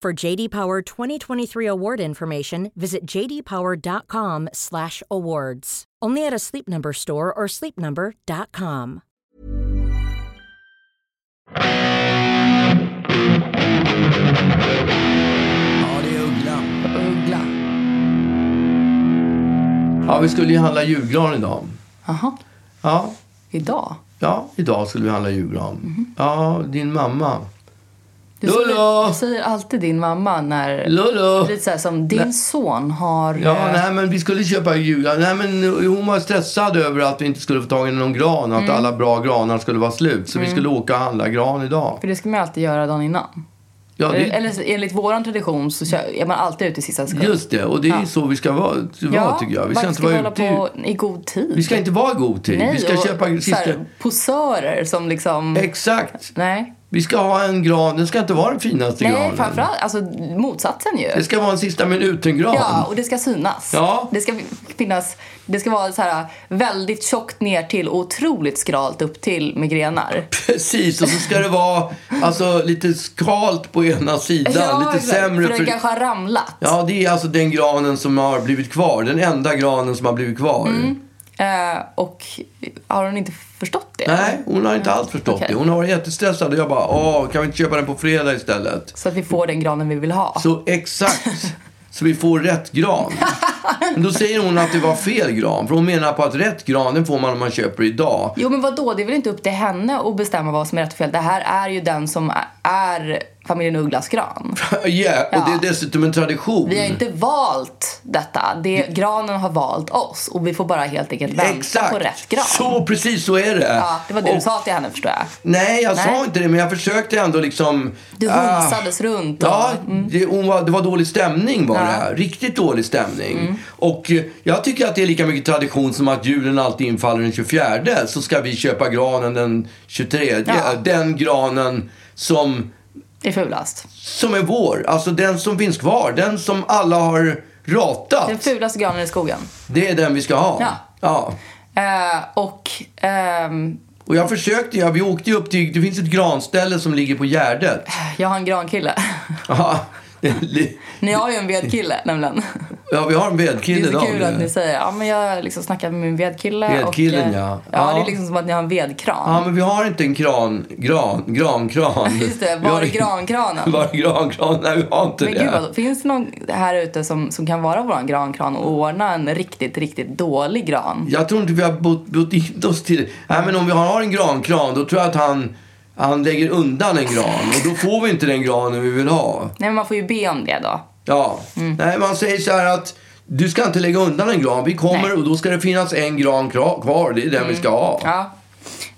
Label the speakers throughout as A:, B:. A: For JD Power 2023 award information, visit jdpower.com/awards. Only at a Sleep Number store or sleepnumber.com.
B: Ja, det är Uggla.
C: Uggla.
B: Ja, vi skulle ju handla julgran idag.
C: Jaha,
B: Ja,
C: idag?
B: ja idag skulle vi handla julgran.
C: Mhm.
B: Ja, din mamma.
C: Du
B: Lolo!
C: säger, du säger alltid din mamma när...
B: Lolo!
C: Lite så här som din son har...
B: Ja,
C: eh,
B: nej men vi skulle köpa julgran. Nej men hon var stressad över att vi inte skulle få tag i någon gran.
C: Mm.
B: Att alla bra granar skulle vara slut. Så vi skulle åka och handla gran idag.
C: För det ska man ju alltid göra dagen innan.
B: Ja, det,
C: Eller så- enligt våran tradition så kör- är man alltid ute i sista sekund.
B: just det. Och det är så vi ska vara, vara tycker jag. Vi ska
C: varför
B: inte vara
C: hålla
B: ute. i-
C: på i god tid?
B: Vi ska inte vara i god tid.
C: Nej,
B: vi ska
C: och
B: köpa
C: så
B: sista...
C: här, posörer som liksom...
B: Exakt.
C: nej,
B: Vi ska ha en gran. Den ska inte vara den finaste
C: nej
B: granen.
C: framförallt alltså motsatsen ju.
B: Det ska vara en sista minuten-gran.
C: Ja, och det ska synas.
B: Ja.
C: Det ska finnas, det ska vara så här väldigt tjockt ner till och otroligt skralt upp till med grenar.
B: Precis, och så ska det vara alltså, lite skalt på ena sidan, lite
C: exakt.
B: sämre.
C: För den kanske har ramlat.
B: Ja, det är alltså den granen som har blivit kvar. Den enda granen som har blivit kvar.
C: Eh, och har hon inte förstått det?
B: Nej, hon har inte alls förstått
C: Okej.
B: det. Hon har varit jättestressad och jag bara, åh, kan vi inte köpa den på fredag istället?
C: Så att vi får den granen vi vill ha.
B: Så exakt, så vi får rätt gran. Men då säger hon att det var fel gran, för hon menar på att rätt gran, den får man om man köper idag.
C: Jo men vadå, det är väl inte upp till henne att bestämma vad som är rätt och fel. Det här är ju den som är familjen Ugglas gran.
B: yeah. och det är dessutom en tradition.
C: Vi har inte valt detta. Det, granen har valt oss och vi får bara helt enkelt vänta
B: Exakt,
C: på rätt gran.
B: så precis så är det.
C: Ja, det var det
B: och
C: du sa till henne förstår jag.
B: Nej, jag sa
C: Nej.
B: inte det, men jag försökte ändå liksom...
C: Du
B: ah,
C: hunsades runt. Och,
B: Ja, det, hon var, det var dålig stämning var
C: Ja. Mm.
B: det. Riktigt dålig stämning. Och eh, jag tycker att det är lika mycket tradition som att julen alltid infaller den 24. Så ska vi köpa granen den 23.
C: Ja.
B: Den granen som,
C: Det är fulast.
B: som är vår. Alltså den som finns kvar. Den som alla har
C: Den
B: ratat.
C: fulaste granen i skogen.
B: Det är den vi ska ha.
C: Ja.
B: ja.
C: Eh, och ehm,
B: Och jag försökte, ja, vi åkte ju upp till, det finns ett granställe som ligger på Gärdet.
C: jag har en grankille.
B: Ja, det li-
C: Ni har ju en vedkille nämligen.
B: ja vi har en
C: Det
B: vedkille
C: är så
B: idag.
C: kul att ni säger ja men jag liksom snackar med min vedkille.
B: Vedkillen,
C: och, eh,
B: ja.
C: ja.
B: Ja.
C: det är liksom som att ni har en vedkran.
B: Ja, men vi har inte en kran, gran, grankran.
C: Just det,
B: Vi
C: var
B: har
C: är
B: inte-
C: grankranen?
B: Var är grankran? Nej, vi har inte
C: Men
B: det.
C: gud vad, finns det någon här ute som, som kan vara våran grankran och ordna en riktigt, riktigt dålig gran?
B: Jag tror inte vi har bott, bott in oss till det. Nej, men om vi har en grankran, då tror jag att han, han lägger undan en gran. Och då får vi inte den granen vi vill ha.
C: Nej men man får ju be om det då.
B: Ja.
C: Mm.
B: Nej, man säger så här att du ska inte lägga undan en gran. Vi kommer
C: Nej. Mm.
B: och då ska det finnas en gran kra- kvar. Det är den vi ska ha.
C: Ja.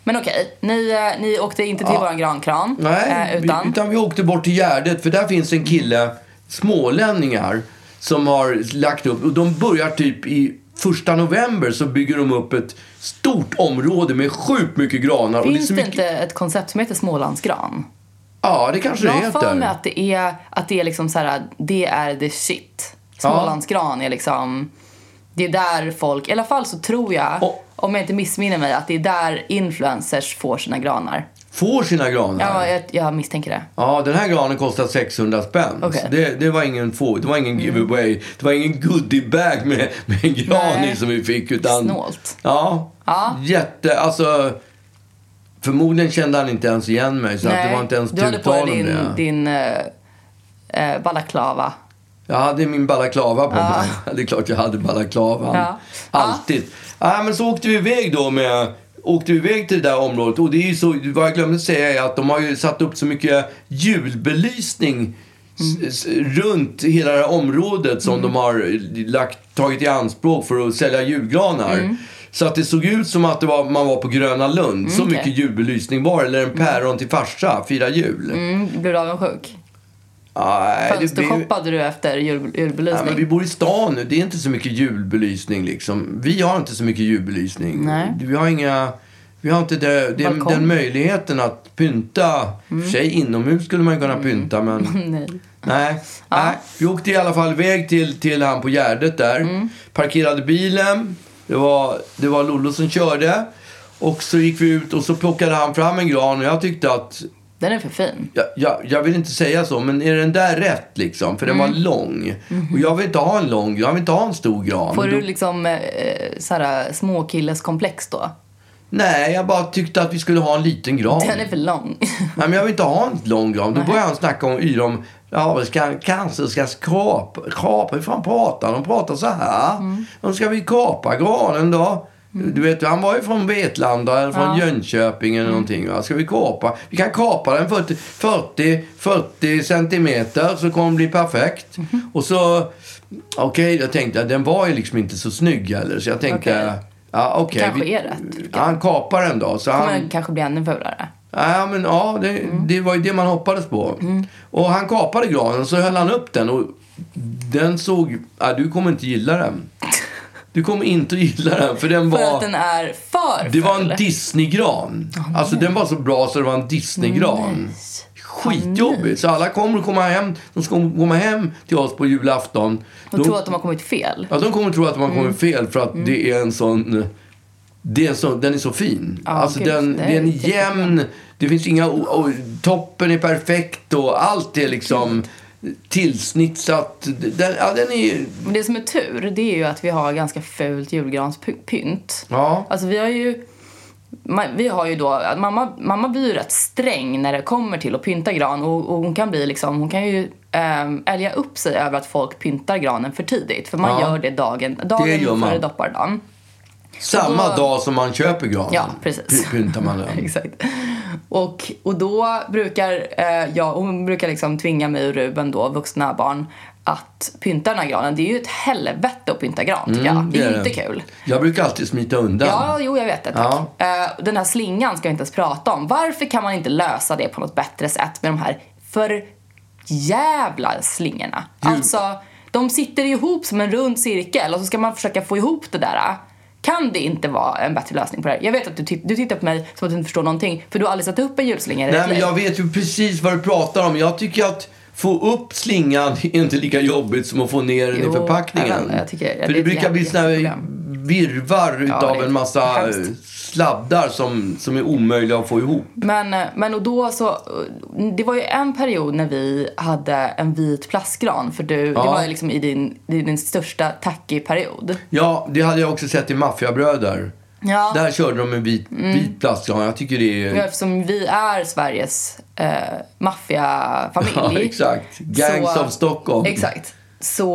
C: Men okej, ni, eh, ni åkte inte till våran grankran.
B: Nej,
C: eh, utan?
B: Vi, utan vi åkte bort till Gärdet för där finns en kille, smålänningar, som har lagt upp och de börjar typ i första november så bygger de upp ett stort område med sjukt mycket granar. och
C: Finns
B: är så
C: det
B: mycket,
C: inte ett koncept som heter Smålandsgran?
B: Ja, det kanske
C: Jag
B: det
C: har för mig
B: heter.
C: att det är, att det är liksom så här, det är the shit. Smålandsgran är liksom, det är där folk, i alla fall så tror jag,
B: Och-
C: om jag inte missminner mig, att det är där influencers får sina granar.
B: Får sina granar.
C: Ja, jag, jag misstänker det.
B: Ja, den här granen kostar 600 spänn.
C: Okej. Mm.
B: Så Det, det var ingen, få, det var ingen giveaway. Det var ingen goodiebag med, med en gran
C: Nej.
B: i som vi fick. Utan,
C: Snålt.
B: Ja,
C: Ja.
B: Jätte, alltså. Förmodligen kände han inte ens igen mig. Så att det var inte ens
C: du hade
B: tu
C: på
B: tal om
C: dig din,
B: det.
C: din eh, eh, balaklava.
B: Jag hade min balaklava på mig. Det är klart jag hade balaklavan.
C: Ja.
B: Alltid. Ja, men så åkte vi iväg då med... Åkte vi iväg till det där området och det är ju så, vad jag glömde säga är att de har ju satt upp så mycket julbelysning
C: Mm.
B: s- s- runt hela det här området som de har lagt, tagit i anspråk för att sälja julgranar.
C: Mm.
B: Så att det såg ut som att det var, man var på Gröna Lund. så
C: Mm, okej.
B: mycket julbelysning var det. Eller en päron till farsa, fira jul.
C: Mm, blev du avundsjuk?
B: Nej, det blev-
C: Fönstershoppade du efter jul,
B: Ja,
C: julbelysning?
B: men vi bor i stan nu. Det är inte så mycket julbelysning liksom. Vi har inte så mycket julbelysning.
C: Nej.
B: Vi har inga... Vi har inte det, det,
C: Balkong.
B: den möjligheten att pynta. Mm. För sig inomhus skulle man ju kunna pynta men...
C: Mm. Nej.
B: Nej. Nej. Vi åkte i alla fall iväg till, till han på Gärdet där.
C: Mm.
B: Parkerade bilen. Det var, det var Lollo som körde. Och så gick vi ut och så plockade han fram en gran och jag tyckte att
C: Den är för fin.
B: jag, jag, jag vill inte säga så, men är den där rätt liksom? För den var
C: Mm.
B: lång. Och jag vill inte ha en lång, jag vill inte ha en stor gran.
C: Mhm. Får
B: Då-
C: du liksom eh, såhär, småkilleskomplex då?
B: Nej, jag bara tyckte att vi skulle ha en liten gran.
C: Den är för lång.
B: Nej, men jag vill inte ha en lång gran. Då började han snacka om yra om ja, vi ska, cancer ska kapa. Kapa? Hur fan pratar han? De pratar så här.
C: Mm.
B: De ska vi kapa granen då? Du vet, han var ju från Vetlanda eller från Jönköping
C: Mm.
B: eller någonting. Va? Ska vi kapa? Vi kan kapa den 40, 40, 40 centimeter så kommer den bli perfekt.
C: Mhm.
B: Och så, okej, jag tänkte att den var ju liksom inte så snygg heller. Så jag tänkte,
C: Okej.
B: ja okej.
C: Kanske
B: vi-
C: är rätt.
B: Han kapar den då. Så han,
C: Men kanske blir ännu fulare.
B: Ja, men, ja det,
C: Mm.
B: det var ju det man hoppades på. Och han kapade granen och så höll han upp den och den såg... Ja, du kommer inte gilla den. Du kommer inte att gilla den för den
C: För
B: var...
C: att den är för
B: det var en
C: full.
B: Disneygran. alltså den var så bra så det var en Disneygran. Skitjobbigt. Så alla kommer att komma hem. De ska komma hem till oss på julafton.
C: De tror att de har kommit fel.
B: Ja, Alltså, de kommer tro att de har
C: Mm.
B: kommit fel för att det är en sån... Det är en sån den är så fin.
C: Ja,
B: alltså
C: gud,
B: den,
C: det
B: det är
C: är
B: en
C: riktigt
B: jämn... Det finns inga... o- o- toppen är perfekt och allt är liksom tillsnitsat. Den, ja, den är...
C: Men det som är tur, det är ju att vi har ganska fult julgranspynt.
B: Ja.
C: Alltså vi har ju... ma- Vi har ju då, mamma, mamma blir ju rätt sträng när det kommer till att pynta gran och, och hon kan bli liksom, hon kan ju ehm, älga upp sig över att folk pyntar granen för tidigt. För man
B: Ja.
C: gör det dagen, dagen
B: Det gör man.
C: före doppardagen.
B: Samma
C: Alltså, då-
B: dag som man köper granen
C: Ja, precis.
B: py- pyntar man den.
C: Exakt. Och, och då brukar eh, jag, hon brukar liksom tvinga mig och Ruben då, vuxna barn, att pynta den här granen. Det är ju ett helvete att pynta gran tycker
B: Mm,
C: jag. Mm, Det är inte kul.
B: Jag brukar alltid smita undan.
C: Ja, jo jag vet det. Tack.
B: Ja.
C: Eh, den här slingan ska vi inte ens prata om. Varför kan man inte lösa det på något bättre sätt med de här för jävla slingorna? Alltså, de sitter ihop som en rund cirkel och så ska man försöka få ihop det där. Kan det inte vara en bättre lösning på det här? Jag vet att du, titt- du tittar på mig som att du inte förstår någonting för du har aldrig satt upp en julslinga i
B: Nej,
C: ditt
B: men
C: liv.
B: jag vet ju precis vad du pratar om. Jag tycker att få upp slingan är inte lika jobbigt som att få ner den
C: Jo,
B: i förpackningen.
C: jag- jag
B: För
C: tycker- det är
B: det
C: ett
B: brukar bli
C: jätte-
B: såna här
C: jätteproblem.
B: virvar
C: Ja, det
B: utav
C: är
B: en massa
C: hemskt.
B: eh, sladdar som, som är omöjliga att få ihop.
C: Men, eh, men och då så, eh, det var ju en period när vi hade en vit plastgran för du, det
B: Ja.
C: var ju liksom i din, i din största tacky-period.
B: Ja, det hade jag också sett i Maffiabröder.
C: Ja.
B: Där körde de en vit, vit plastgran. Jag tycker det är...
C: Mm. Ja, Eftersom vi är Sveriges eh, maffiafamilj.
B: Ja, exakt. Gangs
C: så-
B: of Stockholm.
C: Exakt. Så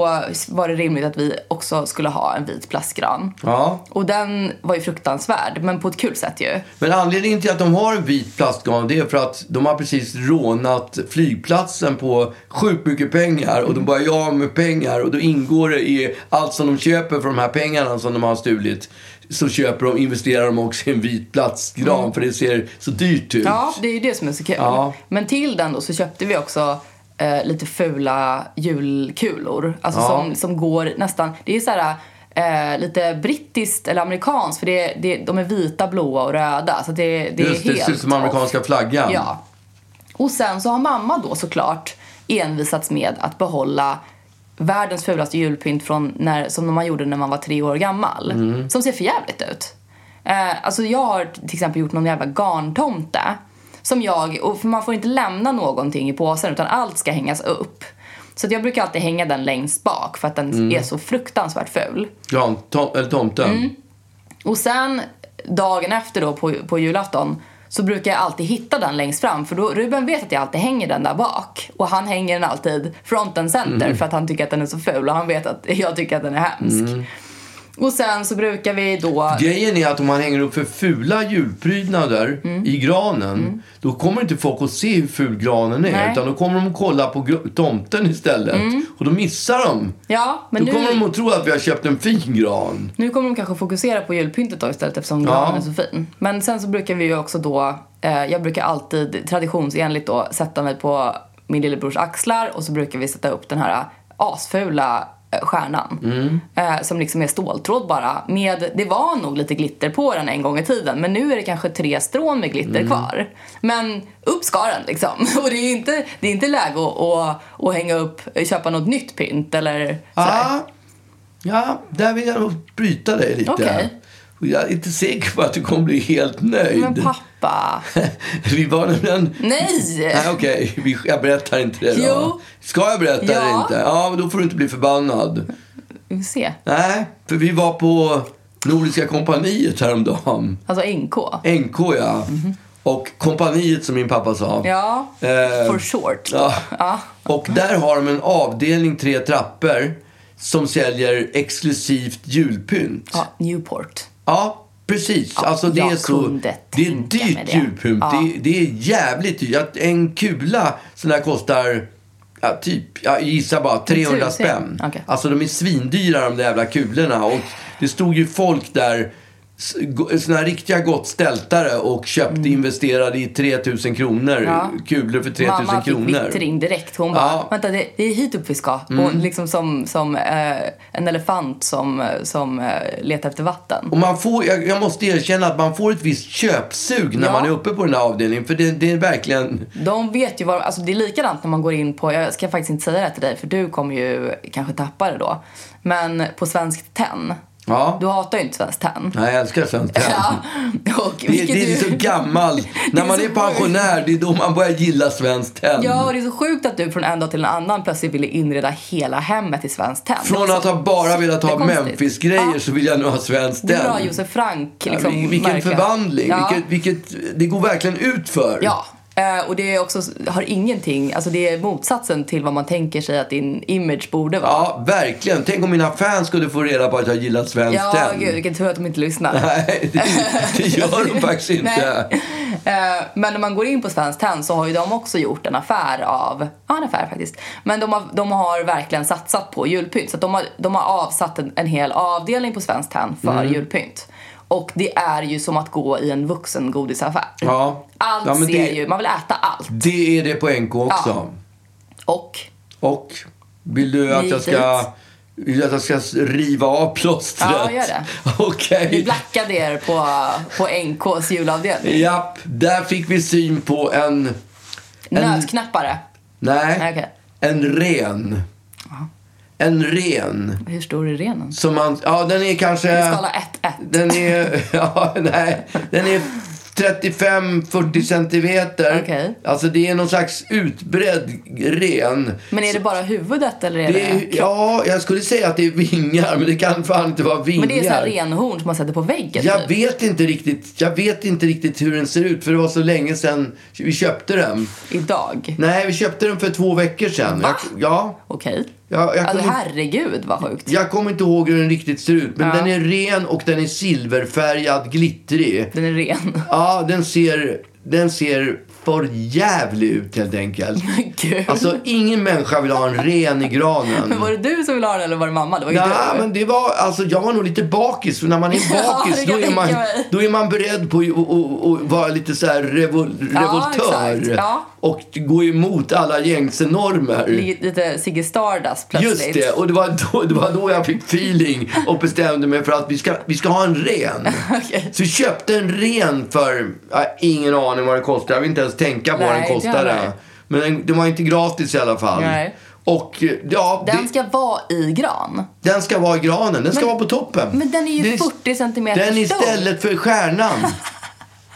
C: var det rimligt att vi också skulle ha en vit plastgran.
B: Ja.
C: Och den var ju fruktansvärd, men på ett kul sätt ju.
B: Men anledningen till att de har en vit plastgran det är för att de har precis rånat flygplatsen på sjukt mycket pengar och de börjar ju av med pengar och då ingår det i allt som de köper för de här pengarna som de har stulit så köper de, investerar de också i en vit plastgran för det ser så dyrt ut.
C: Mm. Ja, det är ju det som är så kul.
B: Ja.
C: Men till den då så köpte vi också eh, lite fula julkulor. Alltså
B: Ja.
C: som, som går nästan, det är så här eh, lite brittiskt eller amerikanskt för det, det, de är vita, blåa och röda. Så det, det
B: Just
C: är
B: det,
C: helt
B: det ser ut som
C: off.
B: amerikanska flaggan.
C: Ja. Och sen så har mamma då såklart envisats med att behålla världens fulaste julpynt från när, som man gjorde när man var tre år gammal. Som ser för jävligt ut. Eh, alltså jag har till exempel gjort någon jävla garntomte. Som jag, och för man får inte lämna någonting i påsen utan allt ska hängas upp. Så att jag brukar alltid hänga den längst bak för att den är så fruktansvärt ful. Mm.
B: Gran, tom, eller tomten.
C: Och sen dagen efter då på, på julafton så brukar jag alltid hitta den längst fram för då, Ruben vet att jag alltid hänger den där bak och han hänger den alltid front and center
B: Mm.
C: för att han tycker att den är så ful och han vet att jag tycker att den är hemsk.
B: Mm.
C: Och sen så brukar vi då...
B: Grejen är att om man hänger upp för fula julprydnader
C: Mm.
B: i granen, då kommer inte folk att se hur ful granen är.
C: Nej.
B: Utan då kommer de att kolla på gr- tomten istället. Och då missar de.
C: Ja, men
B: då
C: nu,
B: kommer de att tro att vi har köpt en fin gran.
C: nu kommer de kanske fokusera på julpyntet då istället eftersom granen är så fin. Men sen så brukar vi ju också då, eh, jag brukar alltid traditionsenligt då sätta mig på min lillebrors axlar och så brukar vi sätta upp den här asfula eh, stjärnan. Eh, som liksom är ståltråd bara. Med, det var nog lite glitter på den en gång i tiden men nu är det kanske tre strån med glitter kvar. Men upp ska den liksom. Och det är inte, det är inte läge att, att, att hänga upp, köpa något nytt pynt eller sådär.
B: Ah, ja, där vill jag nog bryta dig lite.
C: Okej.
B: Och Jag är inte säker på att du kommer bli helt nöjd.
C: Men pappa.
B: vi var nämligen...
C: Nej!
B: Nej, okej. Vi- Jag berättar inte det då.
C: Jo.
B: Ska jag berätta
C: Ja.
B: eller inte? Ja, men då får du inte bli förbannad.
C: Vi får se.
B: Nej, för vi var på Nordiska kompaniet häromdagen.
C: Alltså NK.
B: NK, ja. Och kompaniet, som min pappa sa.
C: Mhm. Ja,
B: Eh,
C: for short.
B: Ja. Och där har de en avdelning, tre trappor, som säljer exklusivt julpynt.
C: Ja, Newport.
B: Ja, precis. alltså det
C: jag
B: är så...
C: kunde
B: Det är
C: tänka mig
B: dyrt
C: det.
B: julpynt.
C: Ja.
B: Det, är- det är jävligt dyrt. Att En kula sån där kostar ja, typ, jag gissar bara, 300
C: Tusen.
B: spänn.
C: Okej.
B: Alltså de är svindyra de där jävla kulorna. Och det stod ju folk där, s- go- såna här riktiga gottställtare och köpte, investerade i 3000 kronor.
C: Mm. Ja.
B: Kulor för 3000
C: Mamma fick
B: kronor.
C: vittring direkt. Hon bara,
B: Ja. Mm.
C: vänta det, det är hit upp vi ska. Och liksom som, som eh, en elefant som, eh, som eh, letar efter vatten.
B: Och man får, jag, jag måste erkänna att man får ett visst köpsug när
C: Ja.
B: man är uppe på den här avdelningen. För det, det är verkligen...
C: De vet ju vad, alltså det är likadant när man går in på, jag ska faktiskt inte säga det här till dig för du kommer ju kanske tappa det då. Men på Svenskt Tenn.
B: Ja.
C: Du hatar ju inte Svenskt Tenn.
B: Nej, jag älskar Svenskt Tenn.
C: Ja. Och
B: Det,
C: vilket
B: det är
C: du-
B: så gammal. När man
C: så
B: är pensionär, det är då man börjar gilla Svenskt Tenn.
C: Ja, och det är så sjukt att du från en dag till en annan plötsligt ville inreda hela hemmet i Alltså, Svenskt Tenn.
B: Från att ha bara velat ha
C: Jättekonstigt.
B: Memphis-grejer
C: Ja.
B: så vill jag nu ha Svenskt
C: Du är bra
B: Tenn.
C: Josef Frank liksom,
B: Vil- vilken
C: märke.
B: förvandling.
C: Ja.
B: Vilket, vilket, det går verkligen ut för.
C: ja. Eh, och det är också, har ingenting, alltså det är motsatsen till vad man tänker sig att din image borde vara.
B: Ja, verkligen. Tänk om mina fans skulle få reda på att jag gillar Svenskt
C: ja
B: Tenn.
C: gud vilken tur att de inte lyssnar.
B: Nej, det, det gör de faktiskt inte.
C: Nej. Eh, Men när man går in på Svenskt Tenn så har ju de också gjort en affär av, ja en affär faktiskt. Men de har, de har verkligen satsat på julpynt. Så att de har, de har avsatt en, en hel avdelning på Svenskt Tenn för
B: Mm.
C: julpynt. Och det är ju som att gå i en vuxengodisaffär.
B: Ja.
C: Allt
B: ja, men
C: ser
B: det,
C: ju, man vill äta allt.
B: Det är det på NK också.
C: Ja. Och
B: Och vill du att
C: Ni
B: jag
C: gick
B: ska... Vill du att jag ska s- riva av plåstret?
C: Ja, gör det.
B: Okej.
C: vi blackade er på, på NKs julavdelning.
B: Japp, där fick vi syn på en...
C: Nötknappare.
B: Nej.
C: Nej, okej.
B: En ren. En ren.
C: Hur stor är renen?
B: Som man... Ja, den är kanske...
C: Skala 1-1.
B: Den är... Ja, nej. Den är 35-40 centimeter.
C: Okej.
B: Alltså, det är någon slags utbredd ren.
C: Men är det bara huvudet eller är det...
B: Det är, ja, jag skulle säga att det är vingar, men det kan fan inte vara vingar.
C: Men det är sådana renhorn som man sätter på väggen
B: Jag
C: typ.
B: vet, inte riktigt, jag vet inte riktigt hur den ser ut, för det var så länge sedan vi köpte den.
C: Idag.
B: Nej, vi köpte den för två veckor sedan. Jag, ja,
C: Okej.
B: jag, jag,
C: Alltså
B: kommer,
C: herregud vad sjukt.
B: jag kommer inte ihåg hur den riktigt ser ut, men den är ren och den är silverfärgad, glittrig.
C: Den är ren.
B: Ja, den ser, den ser för jävlig ut helt enkelt.
C: Gud.
B: Alltså, ingen människa vill ha en ren i granen.
C: Men var det du som ville ha den eller var det mamma? Det var ju
B: Nej,
C: du.
B: men det var, alltså, jag var nog lite bakis. För när man är bakis
C: det
B: då,
C: kan
B: är
C: jag
B: man,
C: tänka mig.
B: då är man beredd på att och, och, och vara lite så här revol,
C: Ja,
B: revoltör.
C: exakt. Ja.
B: Och gå emot alla gängse normer.
C: Lite- Lite Ziggy Stardust plötsligt.
B: Just det, och det var, då, det var då jag fick feeling och bestämde mig för att vi ska, vi ska ha en ren.
C: Okej.
B: Så vi köpte en ren för, ja, ingen aning vad den kostade. Jag vill inte ens tänka på vad
C: Nej,
B: den
C: inte jag
B: kostade.
C: heller.
B: Men den, den var inte gratis i alla fall.
C: Nej.
B: Och eh, ja, det-
C: Den ska vara i gran.
B: den ska vara i granen, den ska vara på toppen.
C: Men den är ju
B: Det
C: 40 centimeter
B: Den
C: stor.
B: istället för stjärnan.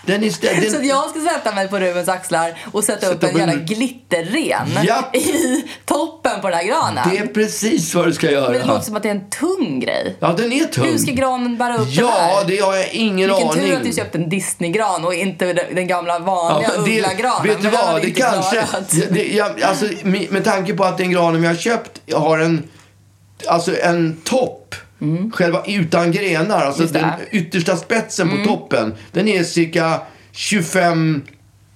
B: Den är stä- den...
C: Så att jag ska sätta mig på Rubens axlar och sätta upp
B: Sätta
C: en
B: upp en-
C: jävla glitterren
B: Japp.
C: i toppen på den här granen.
B: Det är precis vad du ska göra.
C: Men det låter som att det är en tung grej.
B: Ja, den är tung.
C: Hur ska granen bära upp den
B: Ja,
C: här?
B: det har jag ingen
C: Vilken
B: aning.
C: tur att du köpte en Disney-gran och inte den den gamla vanliga
B: men det-
C: ugglagranen.
B: Vet du
C: Men den
B: vad,
C: hade
B: det
C: inte
B: kanske...
C: klarat.
B: Ja, Det, jag, alltså, med, med tanke på att den granen vi har köpt har en, alltså en topp. Själva utan grenar, alltså
C: Mm. Just det. Mm.
B: den yttersta spetsen på toppen. Den är cirka 25,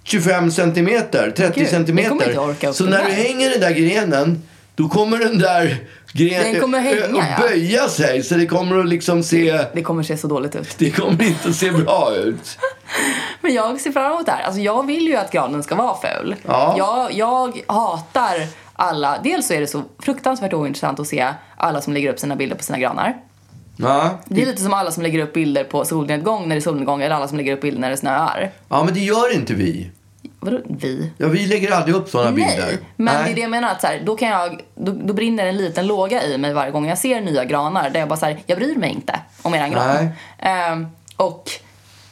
B: 25 centimeter, 30
C: Gud,
B: centimeter.
C: den kommer inte orka upp
B: Så
C: den
B: när
C: där.
B: du hänger den där grenen, då kommer den där grenen
C: Den kommer hänga, ja.
B: och böja sig. Så det kommer att liksom se...
C: Det kommer se så dåligt ut.
B: Det kommer inte att se bra ut.
C: Men jag ser fram emot det här. Alltså jag vill ju att granen ska vara ful.
B: Ja.
C: Jag, jag hatar alla. Dels så är det så fruktansvärt ointressant att se alla som lägger upp sina bilder på sina granar.
B: Ja.
C: Det är lite som alla som lägger upp bilder på solnedgång när det är solnedgång eller alla som lägger upp bilder när det snöar.
B: ja, men det gör inte vi.
C: Vadå vi?
B: Ja, vi lägger aldrig upp sådana bilder.
C: Nej, men det
B: Nej.
C: är det jag menar. Att så här, då, kan jag, då, då brinner en liten låga i mig varje gång jag ser nya granar. Där jag bara så här, jag bryr mig inte om eran gran. Ehm, och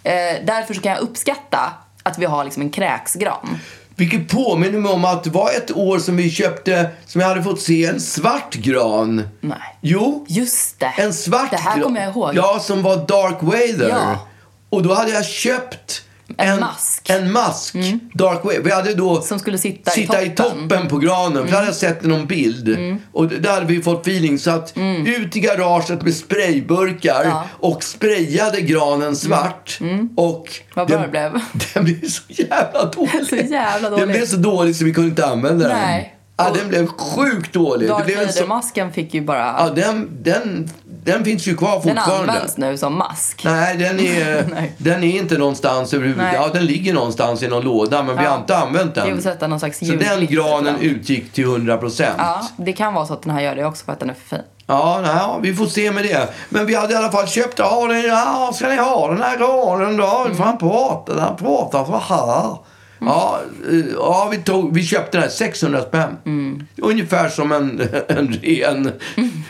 C: eh, därför så kan jag uppskatta att vi har liksom en kräksgran.
B: Vilket påminner mig om att det var ett år som vi köpte, som jag hade fått se en svart gran.
C: Nej.
B: Jo,
C: Just det.
B: en svart
C: Det här
B: gran-
C: kommer jag ihåg.
B: Ja, som var Dark Weather.
C: Ja.
B: Och då hade jag köpt
C: En mask. Mm.
B: En mask. Dark Weather. Vi hade då
C: Som skulle sitta i
B: sitta i
C: toppen. Mm.
B: toppen på granen. För där hade jag sett någon bild. Och d- där hade vi fått feeling. Så att ut i garaget med sprayburkar
C: Ja. Mm.
B: och sprayade granen svart. Och
C: Vad bra det blev.
B: Den blev så jävla dålig.
C: Så jävla dålig.
B: Den blev så dålig så vi kunde inte använda den.
C: Nej.
B: Ja,
C: Och-
B: den blev sjukt dålig.
C: Darth
B: blev en så-
C: Vader-masken fick ju bara...
B: Ja, den, den, den finns ju kvar
C: den
B: fortfarande.
C: används nu som mask.
B: Nej, den är,
C: Nej.
B: den är inte någonstans överhuvudtaget.
C: Nej.
B: Ja, den ligger någonstans i någon låda, men vi
C: Ja.
B: har inte använt
C: Det är
B: den.
C: väl sätta någon slags
B: Så den
C: julglitter på
B: granen
C: den.
B: utgick till 100 procent.
C: Ja, det kan vara så att den här gör det också för att den är för fin.
B: Ja, nej, ja, vi får se med det. Men vi hade i alla fall köpt, ja, den, ja ska ni ha den här granen då? För han pratar, han pratar så här. Ja, eh, ja vi, tog, vi köpte den här 600 spänn.
C: Mm.
B: Ungefär som en, en ren.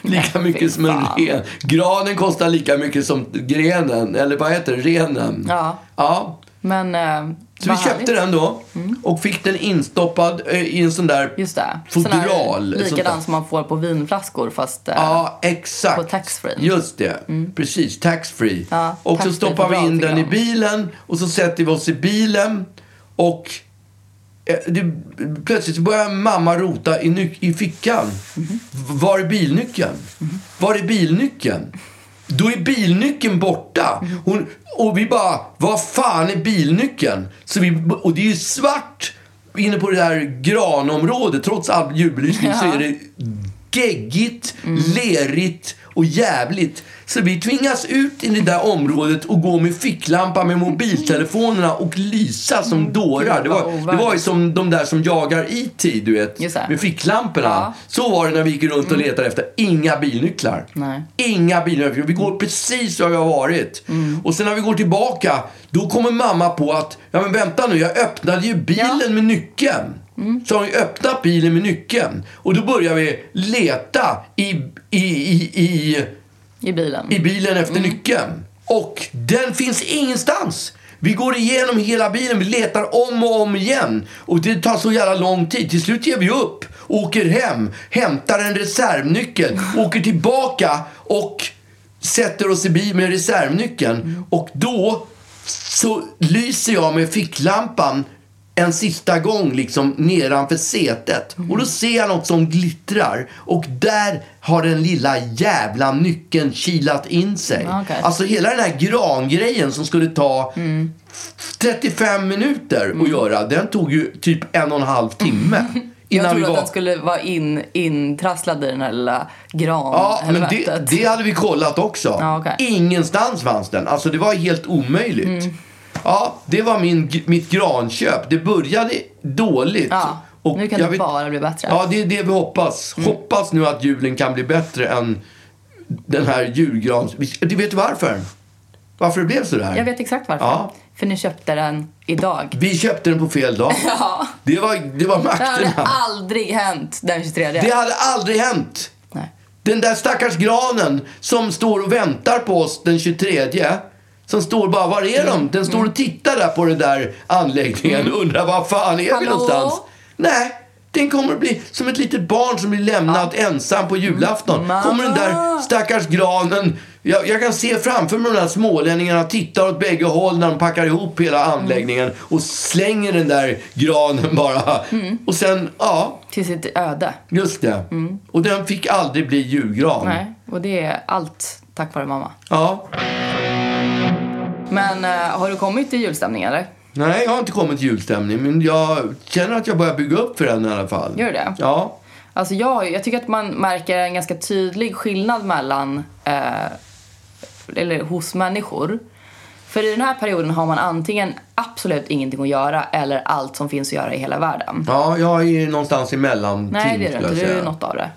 B: Lika
C: fy
B: mycket som en
C: fan.
B: ren. Granen kostar lika mycket som grenen. Eller vad heter det? Renen.
C: Ja.
B: ja.
C: Men... Eh,
B: Så vi
C: vad
B: köpte
C: härligt. Mm.
B: den då. Och fick den instoppad eh, i en sån där
C: Just det.
B: fodral.
C: Sån här,
B: ett sånt där-
C: likadan som man får på vinflaskor fast... eh,
B: Ja, exakt.
C: På taxfree. Mm.
B: Just det. Precis, taxfree.
C: Ja,
B: och så
C: taxfree
B: stoppar
C: på
B: vi in den i
C: radiogram.
B: bilen och så sätter vi oss i bilen och eh, det, plötsligt börjar mamma rota i, nyc- i fickan. Var är bilnyckeln? Var är bilnyckeln? Då är bilnyckeln borta. Hon, och vi bara, vad fan är bilnyckeln? Så vi, och det är ju svart inne på det där granområdet. Trots all julbelysning så
C: Ja.
B: är det geggigt, lerigt och jävligt. Så vi tvingas ut i det där området och gå med ficklampa med mobiltelefonerna och lysa som dårar. Det var,
C: Mm, vad
B: det var ju som de där som jagar IT, du vet.
C: Just det.
B: Med ficklamporna.
C: Ja. Mm.
B: Så var det när vi gick runt och letade efter. Inga bilnycklar.
C: Nej.
B: Inga bilnycklar. Vi går precis där vi har varit.
C: Mm.
B: Och sen när vi går tillbaka, då kommer mamma på att, ja men vänta nu, jag öppnade ju bilen
C: Ja. Mm.
B: med nyckeln. Så har vi öppnat bilen med nyckeln. Och då börjar vi leta i, i, i, i
C: I bilen.
B: i bilen efter nyckeln. Och den finns ingenstans! Vi går igenom hela bilen, vi letar om och om igen. Och det tar så jävla lång tid. Till slut ger vi upp, åker hem, hämtar en reservnyckel, åker tillbaka och sätter oss i bil med reservnyckeln. Och då så lyser jag med ficklampan en sista gång liksom nedanför setet. Och då ser jag något som glittrar. Och där har den lilla jävla nyckeln kilat in sig.
C: Okej.
B: Alltså hela den här grangrejen som skulle ta 35 minuter att göra. Den tog ju typ en och en halv timme.
C: Mm. jag
B: Innan vi
C: trodde att
B: var...
C: den skulle vara in, intrasslad i den här lilla
B: Ja, men det,
C: granhelvetet.
B: det hade vi kollat också.
C: Ja, okej. Mm.
B: Ingenstans fanns den. Alltså det var helt omöjligt. Ja, det var min, mitt granköp. Det började dåligt.
C: Ja, nu kan
B: jag
C: det bara bli bättre. Mm.
B: Ja, det är det vi hoppas. Hoppas nu att julen kan bli bättre än den här julgrans... Du vet varför? Varför det blev så där?
C: Jag vet exakt varför.
B: Ja.
C: För ni köpte den idag.
B: Vi köpte den på fel dag.
C: Ja.
B: Det var, det var
C: Det hade
B: makterna.
C: aldrig hänt den 23.
B: Det hade aldrig hänt.
C: Nej.
B: Den där stackars granen som står och väntar på oss den 23 Som står bara, var är de? Den står och tittar där på den där anläggningen och undrar var fan är vi
C: Hallå?
B: någonstans? Nej, den kommer att bli som ett litet barn som blir lämnat ensam på julafton.
C: Mamma!
B: Kommer den där stackars granen. Jag, jag kan se framför mig de där smålänningarna tittar åt bägge håll när de packar ihop hela anläggningen och slänger den där granen bara. Och sen, ja,
C: Till sitt öde.
B: just det. Och den fick aldrig bli julgran.
C: Mm. Nej, och det är allt tack vare mamma.
B: Ja.
C: Men eh, har du kommit till julstämning eller?
B: Nej, jag har inte kommit till julstämning, men jag känner att jag börjar bygga upp för den i alla fall.
C: Gör du det?
B: Ja.
C: Alltså jag, har ju- jag tycker att man märker en ganska tydlig skillnad mellan, eh, eller hos människor. För i den här perioden har man antingen absolut ingenting att göra eller allt som finns att göra i hela världen.
B: Ja, jag är någonstans emellan
C: Nej, det är
B: skulle
C: du
B: jag
C: inte. Du är
B: säga.
C: något av det.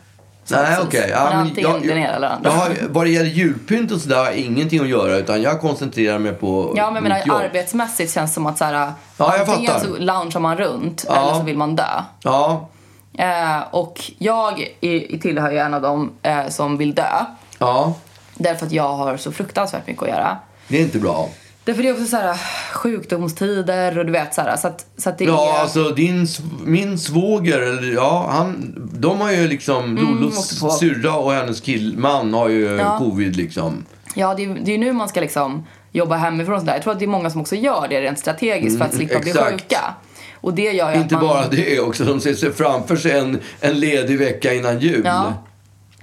B: Nej,
C: precis.
B: okej.
C: Man är
B: men
C: antingen den ena eller andra.
B: Jag har, vad det gäller julpynt och sådär har jag ingenting att göra utan jag koncentrerar mig på
C: Ja, men jag
B: mitt jobb.
C: menar, arbetsmässigt känns det som att så här,
B: Ja, jag
C: antingen
B: fattar.
C: så loungear man runt
B: Ja.
C: eller så vill man dö.
B: Ja,
C: Eh, och jag i, tillhör ju en av dem eh, som vill dö.
B: ja.
C: Därför att jag har så fruktansvärt mycket att göra.
B: Det är inte bra.
C: Därför det är också så här äh, sjukdomstider och du vet så här. Så att, så att det
B: Ja,
C: är...
B: alltså din, sv- min svåger, eller ja, han, de har ju liksom,
C: åkte
B: Lollos
C: Mm, på.
B: syrra och hennes killman har ju
C: Ja.
B: covid liksom.
C: Ja, det är, det är nu man ska liksom jobba hemifrån och sådär. Jag tror att det är många som också gör det rent strategiskt för att slippa bli
B: Mm, exakt.
C: sjuka. Och det gör ju
B: Inte
C: att man...
B: bara det också, de ser sig framför sig en, en ledig vecka innan jul.
C: Ja.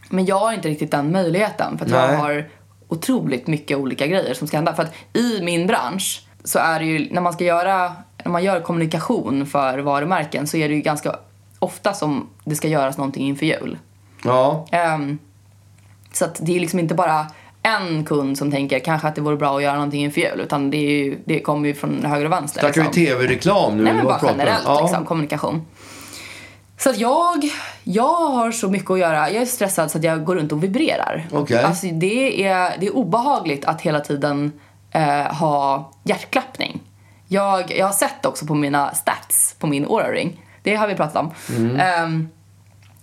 C: Men jag har inte riktigt den möjligheten för att jag
B: Nej.
C: har otroligt mycket olika grejer som ska hända. För att i min bransch så är det ju när man ska göra, när man gör kommunikation för varumärken så är det ju ganska ofta som det ska göras någonting inför jul.
B: Ja,
C: Ehm, så att det är liksom inte bara en kund som tänker kanske att det vore bra att göra någonting inför jul utan det, är ju, det kommer ju från höger och vänster.
B: snackar vi
C: liksom.
B: tv-reklam nu?
C: Nej men
B: eller
C: bara
B: vad pratar vi om?
C: generellt
B: ja.
C: liksom, kommunikation. Så att jag, jag har så mycket att göra. Jag är stressad så att jag går runt och vibrerar.
B: Okej.
C: Alltså det är, det är obehagligt att hela tiden eh, ha hjärtklappning. Jag, jag har sett också på mina stats på min aura ring. Det har vi pratat om.
B: Mm.
C: Ehm,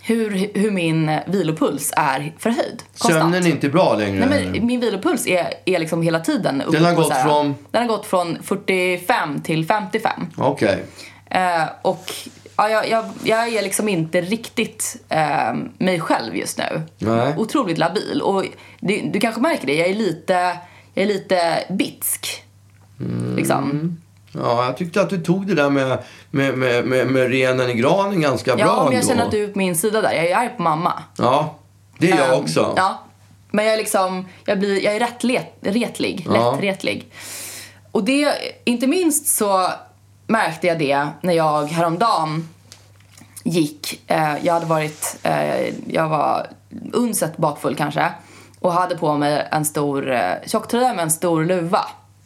C: hur, hur min vilopuls är förhöjd. Konstant.
B: Sömnen är inte bra längre.
C: Nej, men min vilopuls är, är liksom hela tiden uppe
B: Den har
C: på
B: gått
C: så här-
B: från-
C: Den har gått från 45 till 55.
B: Okej.
C: Eh, och ja, jag, jag, jag är liksom inte riktigt eh, mig själv just nu.
B: Nej.
C: Otroligt labil. Och det, du kanske märker det, jag är lite, jag är lite bitsk. Liksom.
B: Ja, jag tyckte att du tog det där med, med, med, med, med renen i granen ganska bra
C: Ja, men jag
B: ändå.
C: känner att du är på min sida där. Jag är arg på mamma.
B: Ja, det är jag också.
C: Ehm, Ja. Men jag är liksom, jag, blir, jag är rätt let, retlig.
B: Ja.
C: Lättretlig. Och det, inte minst så märkte jag det när jag häromdagen gick. Eh, jag hade varit, eh, jag var unsett bakfull kanske. Och hade på mig en stor eh, tjocktröja med en stor luva.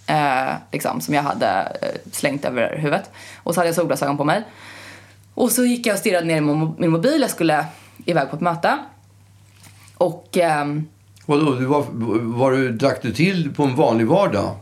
C: Eh, liksom, som jag hade eh, slängt över huvudet. Och så hade jag solglasögon på mig. Och så gick jag och stirrade ner i mo- min mobil. Jag skulle iväg på ett möte. Och ehm,
B: Vadå, du var, var du, drack du till på en vanlig vardag?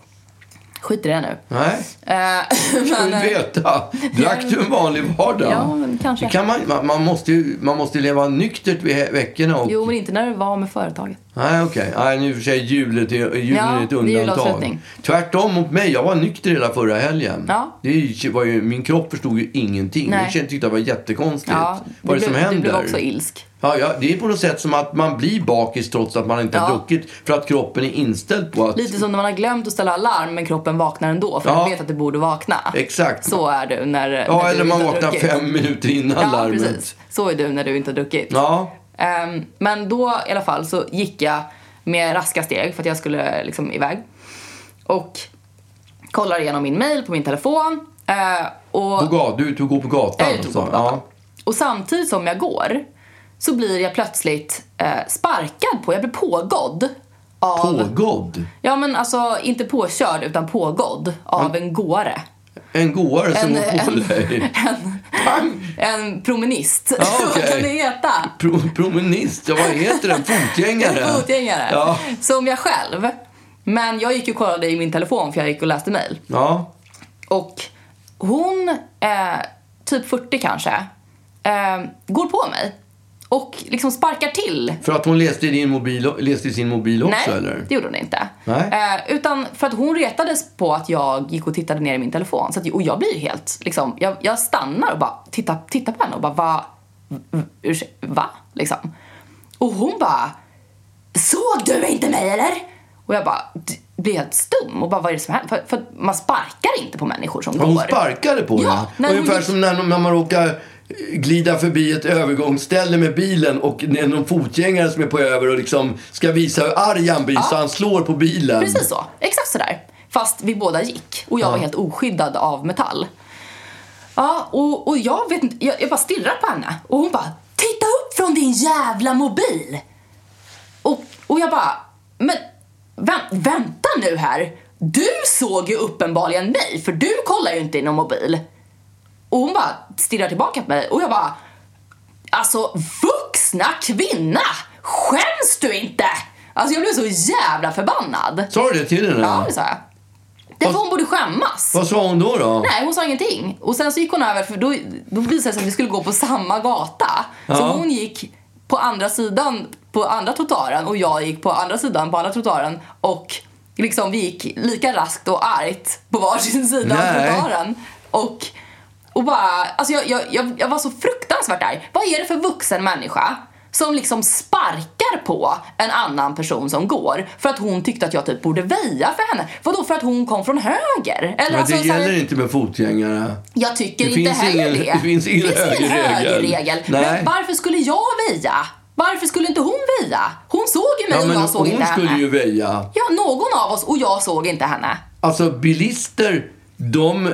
C: skit i det nu.
B: Nej,
C: Eh,
B: ska
C: men,
B: du
C: eh,
B: veta. Drack du en vanlig vardag?
C: Ja, men kanske.
B: Det kan man, man, man måste ju man måste ju leva nyktert vid he- veckorna. Och,
C: jo, men inte när du var med företaget.
B: Nej, okej. Nej, nu i och för sig julet är, julen
C: Ja,
B: är ett
C: det är
B: undantag.
C: julavslutning.
B: Tvärtom mot mig. Jag var nykter hela förra helgen.
C: Ja.
B: Det är ju- var ju, min kropp förstod ju ingenting.
C: Nej.
B: Jag kände- tyckte det var jättekonstigt.
C: Ja,
B: Vad är det
C: du
B: som
C: blev,
B: händer?
C: Du blev också ilsk.
B: Ja, ja, det är på något sätt som att man blir bakis trots att man inte har
C: Ja.
B: druckit. För att kroppen är inställd på att...
C: Lite som när man har glömt att ställa alarm men kroppen vaknar ändå för
B: Ja.
C: man vet att du borde vakna.
B: Exakt.
C: Så är du när, när
B: ja,
C: du
B: eller man
C: inte har
B: vaknar
C: druckit.
B: fem minuter innan
C: Ja,
B: larmet.
C: precis. Så är du när du inte har druckit.
B: Ja,
C: Ehm, men då i alla fall så gick jag med raska steg för att jag skulle liksom iväg. Och kollar igenom min mail på min telefon. eh, och
B: på gat, du tog gå på gatan.
C: Jag är ute på
B: alltså.
C: gatan.
B: Ja.
C: Och samtidigt som jag går så blir jag plötsligt eh, sparkad på, jag blir pågådd av...
B: Pågådd?
C: Ja men alltså inte påkörd utan pågådd av en gåre.
B: En gåare som
C: En,
B: går på
C: en,
B: dig?
C: en,
B: Pang!
C: en promenist.
B: Ja,
C: Vad kan
B: okej.
C: det heta?
B: Pro, promenist, ja, vad heter den? Fotgängare?
C: En fotgängare.
B: Ja.
C: Som jag själv. Men jag gick och kollade i min telefon för jag gick och läste mail.
B: ja.
C: Och hon, eh, typ 40 kanske, eh, går på mig. och liksom sparkar till.
B: För att hon läste i, din mobil, läste i sin mobil också
C: Nej,
B: eller?
C: det gjorde hon inte.
B: Nej.
C: Eh, utan för att hon retades på att jag gick och tittade ner i min telefon. Så att, och jag blir helt, liksom, jag, jag stannar och bara tittar, tittar på henne och bara va? v- Ursäkta, va? Liksom. Och hon bara, såg du inte mig eller? Och jag bara d- blir helt stum och bara vad är det som händer? För, för att man sparkar inte på människor som
B: Ja, Hon
C: går.
B: sparkade på
C: Ja,
B: den.
C: när hon
B: Ungefär
C: gick-
B: som när, när man råkar eh, glida förbi ett övergångsställe med bilen och det är någon fotgängare som är på över och liksom ska visa hur arg han blir så han slår på bilen.
C: Precis så, exakt sådär. Fast vi båda gick och jag var helt oskyddad av metall. Ja, och, och jag vet inte, jag, jag bara stirrar på henne och hon bara Titta upp från din jävla mobil! Och, och jag bara, men vänt- vänta nu här. Du såg ju uppenbarligen mig för du kollar ju inte i någon mobil. Och hon bara stirrar tillbaka på mig och jag bara Alltså vuxna kvinna! Skäms du inte? Alltså jag blev så jävla förbannad.
B: Sa du det till henne?
C: Ja, det sa jag. Därför hon borde skämmas.
B: Vad sa hon då? då?
C: Nej, hon sa ingenting. Och sen så gick hon över, för då, då visade det sig att vi skulle gå på samma gata. Så
B: Ja.
C: hon gick på andra sidan på andra trottoaren och jag gick på andra sidan på andra trottoaren och liksom vi gick lika raskt och argt på varsin sida av
B: Nej.
C: trottoaren. Och, och bara, alltså jag, jag, jag, jag var så fruktansvärt där. Vad är det för vuxen människa som liksom sparkar på en annan person som går för att hon tyckte att jag typ borde väja för henne? Vadå för att hon kom från höger? Eller
B: Men det
C: alltså så här-
B: gäller inte med fotgängare.
C: jag tycker
B: Det
C: inte
B: finns
C: heller
B: ingen-
C: det.
B: det finns ingen högerregel.
C: högerregel.
B: Nej.
C: Men varför skulle jag väja? Varför skulle inte hon väja? Hon såg ju mig
B: Ja, men
C: och jag såg
B: hon
C: inte
B: skulle
C: henne.
B: ju väja.
C: Ja, någon av oss och jag såg inte henne.
B: Alltså bilister, de...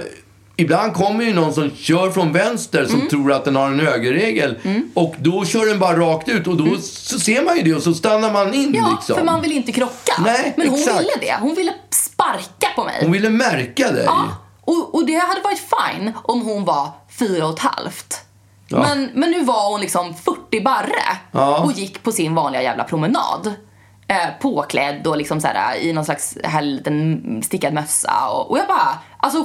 B: Ibland kommer ju någon som kör från vänster som
C: Mm.
B: tror att den har en högerregel. Och då kör den bara rakt ut och då så ser man ju det och så stannar man in
C: Mm. Ja,
B: liksom.
C: för man vill inte krocka.
B: Nej,
C: men hon
B: exakt.
C: ville det. Hon ville sparka på mig.
B: Hon ville märka dig.
C: Ja, och, och det hade varit fine om hon var fyra och ett halvt.
B: Ja.
C: Men, men nu var hon liksom 40 barre
B: Ja.
C: och gick på sin vanliga jävla promenad. Eh, påklädd och liksom så här, i någon slags här liten stickad mössa. Och, och jag bara, alltså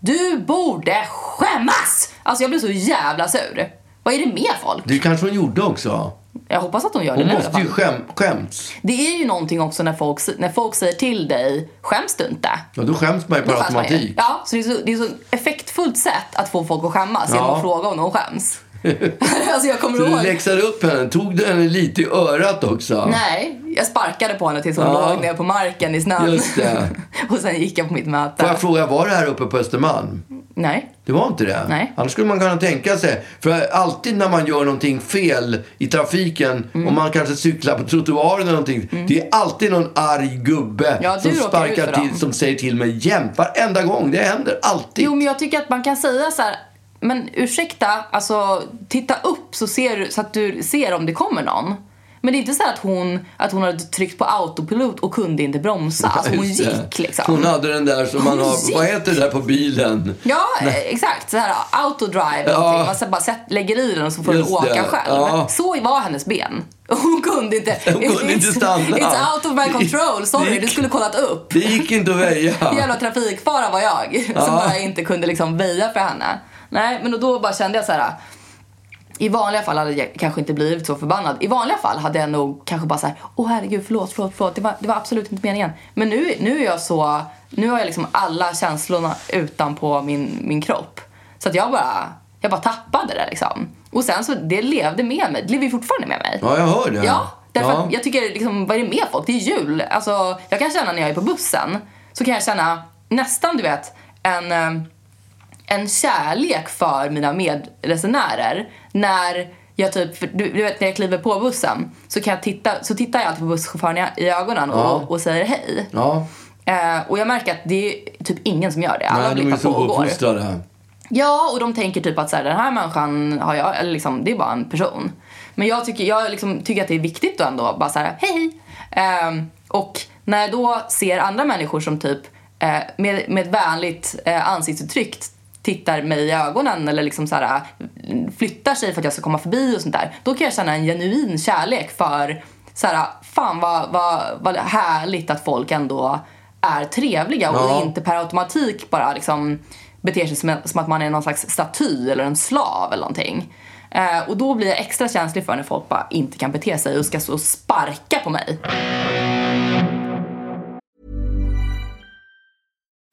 C: du borde skämmas! Alltså jag blev så jävla sur. Vad är det med folk?
B: Det kanske hon gjorde också.
C: Jag hoppas att hon gör det
B: Hon
C: nu i alla
B: måste
C: fall.
B: ju skäm- skämts.
C: Det är ju någonting också när folk, när folk säger till dig, skäms du inte?
B: Ja, då skäms man ju per
C: Då skäms man ju.
B: automatik.
C: Ja, så det är så, det är så effektfullt sätt att få folk att skämmas genom
B: Ja.
C: att fråga om de skäms. alltså jag kommer
B: Så du
C: ihåg.
B: läxade upp henne. Tog du henne lite i örat också?
C: Nej, jag sparkade på henne tills hon
B: Ja.
C: låg ner på marken i snön.
B: Just det.
C: och sen gick jag på mitt möte.
B: Får jag fråga, var det här uppe på Östermalm?
C: Nej.
B: Det var inte det?
C: Nej.
B: Annars skulle man kunna tänka sig. För alltid när man gör någonting fel i trafiken,
C: Mm.
B: om man kanske cyklar på trottoaren eller någonting. Det är alltid någon arg gubbe
C: Ja, du
B: som
C: råkar ut
B: sparkar
C: för dem.
B: till, som säger till mig jämt. Varenda gång, det händer. Alltid.
C: Jo, men jag tycker att man kan säga så här. Men ursäkta, alltså titta upp så, ser, du- så att du ser om det kommer någon. Men det är inte så här att hon, att hon hade tryckt på autopilot och kunde inte bromsa. Alltså hon
B: Just det.
C: gick liksom.
B: Hon hade den där som man
C: Hon
B: har,
C: gick.
B: vad heter det där på bilen?
C: Ja, eh, exakt. Så här, autodrive. eller
B: Ja.
C: någonting. Man sen bara sätt, lägger i den och så får den
B: Just
C: åka
B: det.
C: själv.
B: Ja.
C: Så var hennes ben. Hon kunde inte.
B: Hon kunde inte stanna.
C: It's out of my control. Sorry, du skulle kollat upp.
B: Det gick inte att väja.
C: Jävla trafikfara var jag. Som bara inte kunde liksom väja för henne. Nej, men och då bara kände jag så här. I vanliga fall hade jag kanske inte blivit så förbannad. I vanliga fall hade jag nog kanske bara så här, åh herregud, förlåt, förlåt, förlåt. Det var, det var absolut inte meningen. Men nu, nu är jag så, nu har jag liksom alla känslorna utanpå min, min kropp. Så att jag bara, jag bara tappade det liksom. Och sen så, det levde med mig. Det lever ju fortfarande med mig.
B: Ja, jag hör det.
C: Ja, därför
B: Ja.
C: Att jag tycker liksom, vad är det med folk? Det är jul. Alltså, jag kan känna när jag är på bussen, så kan jag känna nästan, du vet, en, eh, en kärlek för mina medresenärer. När jag typ, för du, du vet när jag kliver på bussen, så, kan jag titta, så tittar jag alltid på busschauffören i- i ögonen och,
B: Ja.
C: och säger hej.
B: Ja.
C: Eh, och jag märker att det är typ ingen som gör det. Alla
B: Nej, de är
C: blickar
B: så
C: på och går.
B: ouppfostrade.
C: Ja, och de tänker typ att så här, den här människan har jag, eller liksom, det är bara en person. Men jag tycker, jag liksom, tycker att det är viktigt då ändå, bara så här, hej hej. Ehm, och när jag då ser andra människor som typ eh, med, med ett vänligt eh, ansiktsuttryck tittar mig i ögonen eller liksom så här, flyttar sig för att jag ska komma förbi och sånt där. Då kan jag känna en genuin kärlek för så här, fan vad, vad, vad härligt att folk ändå är trevliga och
B: Ja.
C: inte inte per automatik bara liksom beter sig som, en, som att man är någon slags staty eller en slav eller någonting. Eh, och då blir jag extra känslig för när folk bara inte kan bete sig och ska så sparka på mig.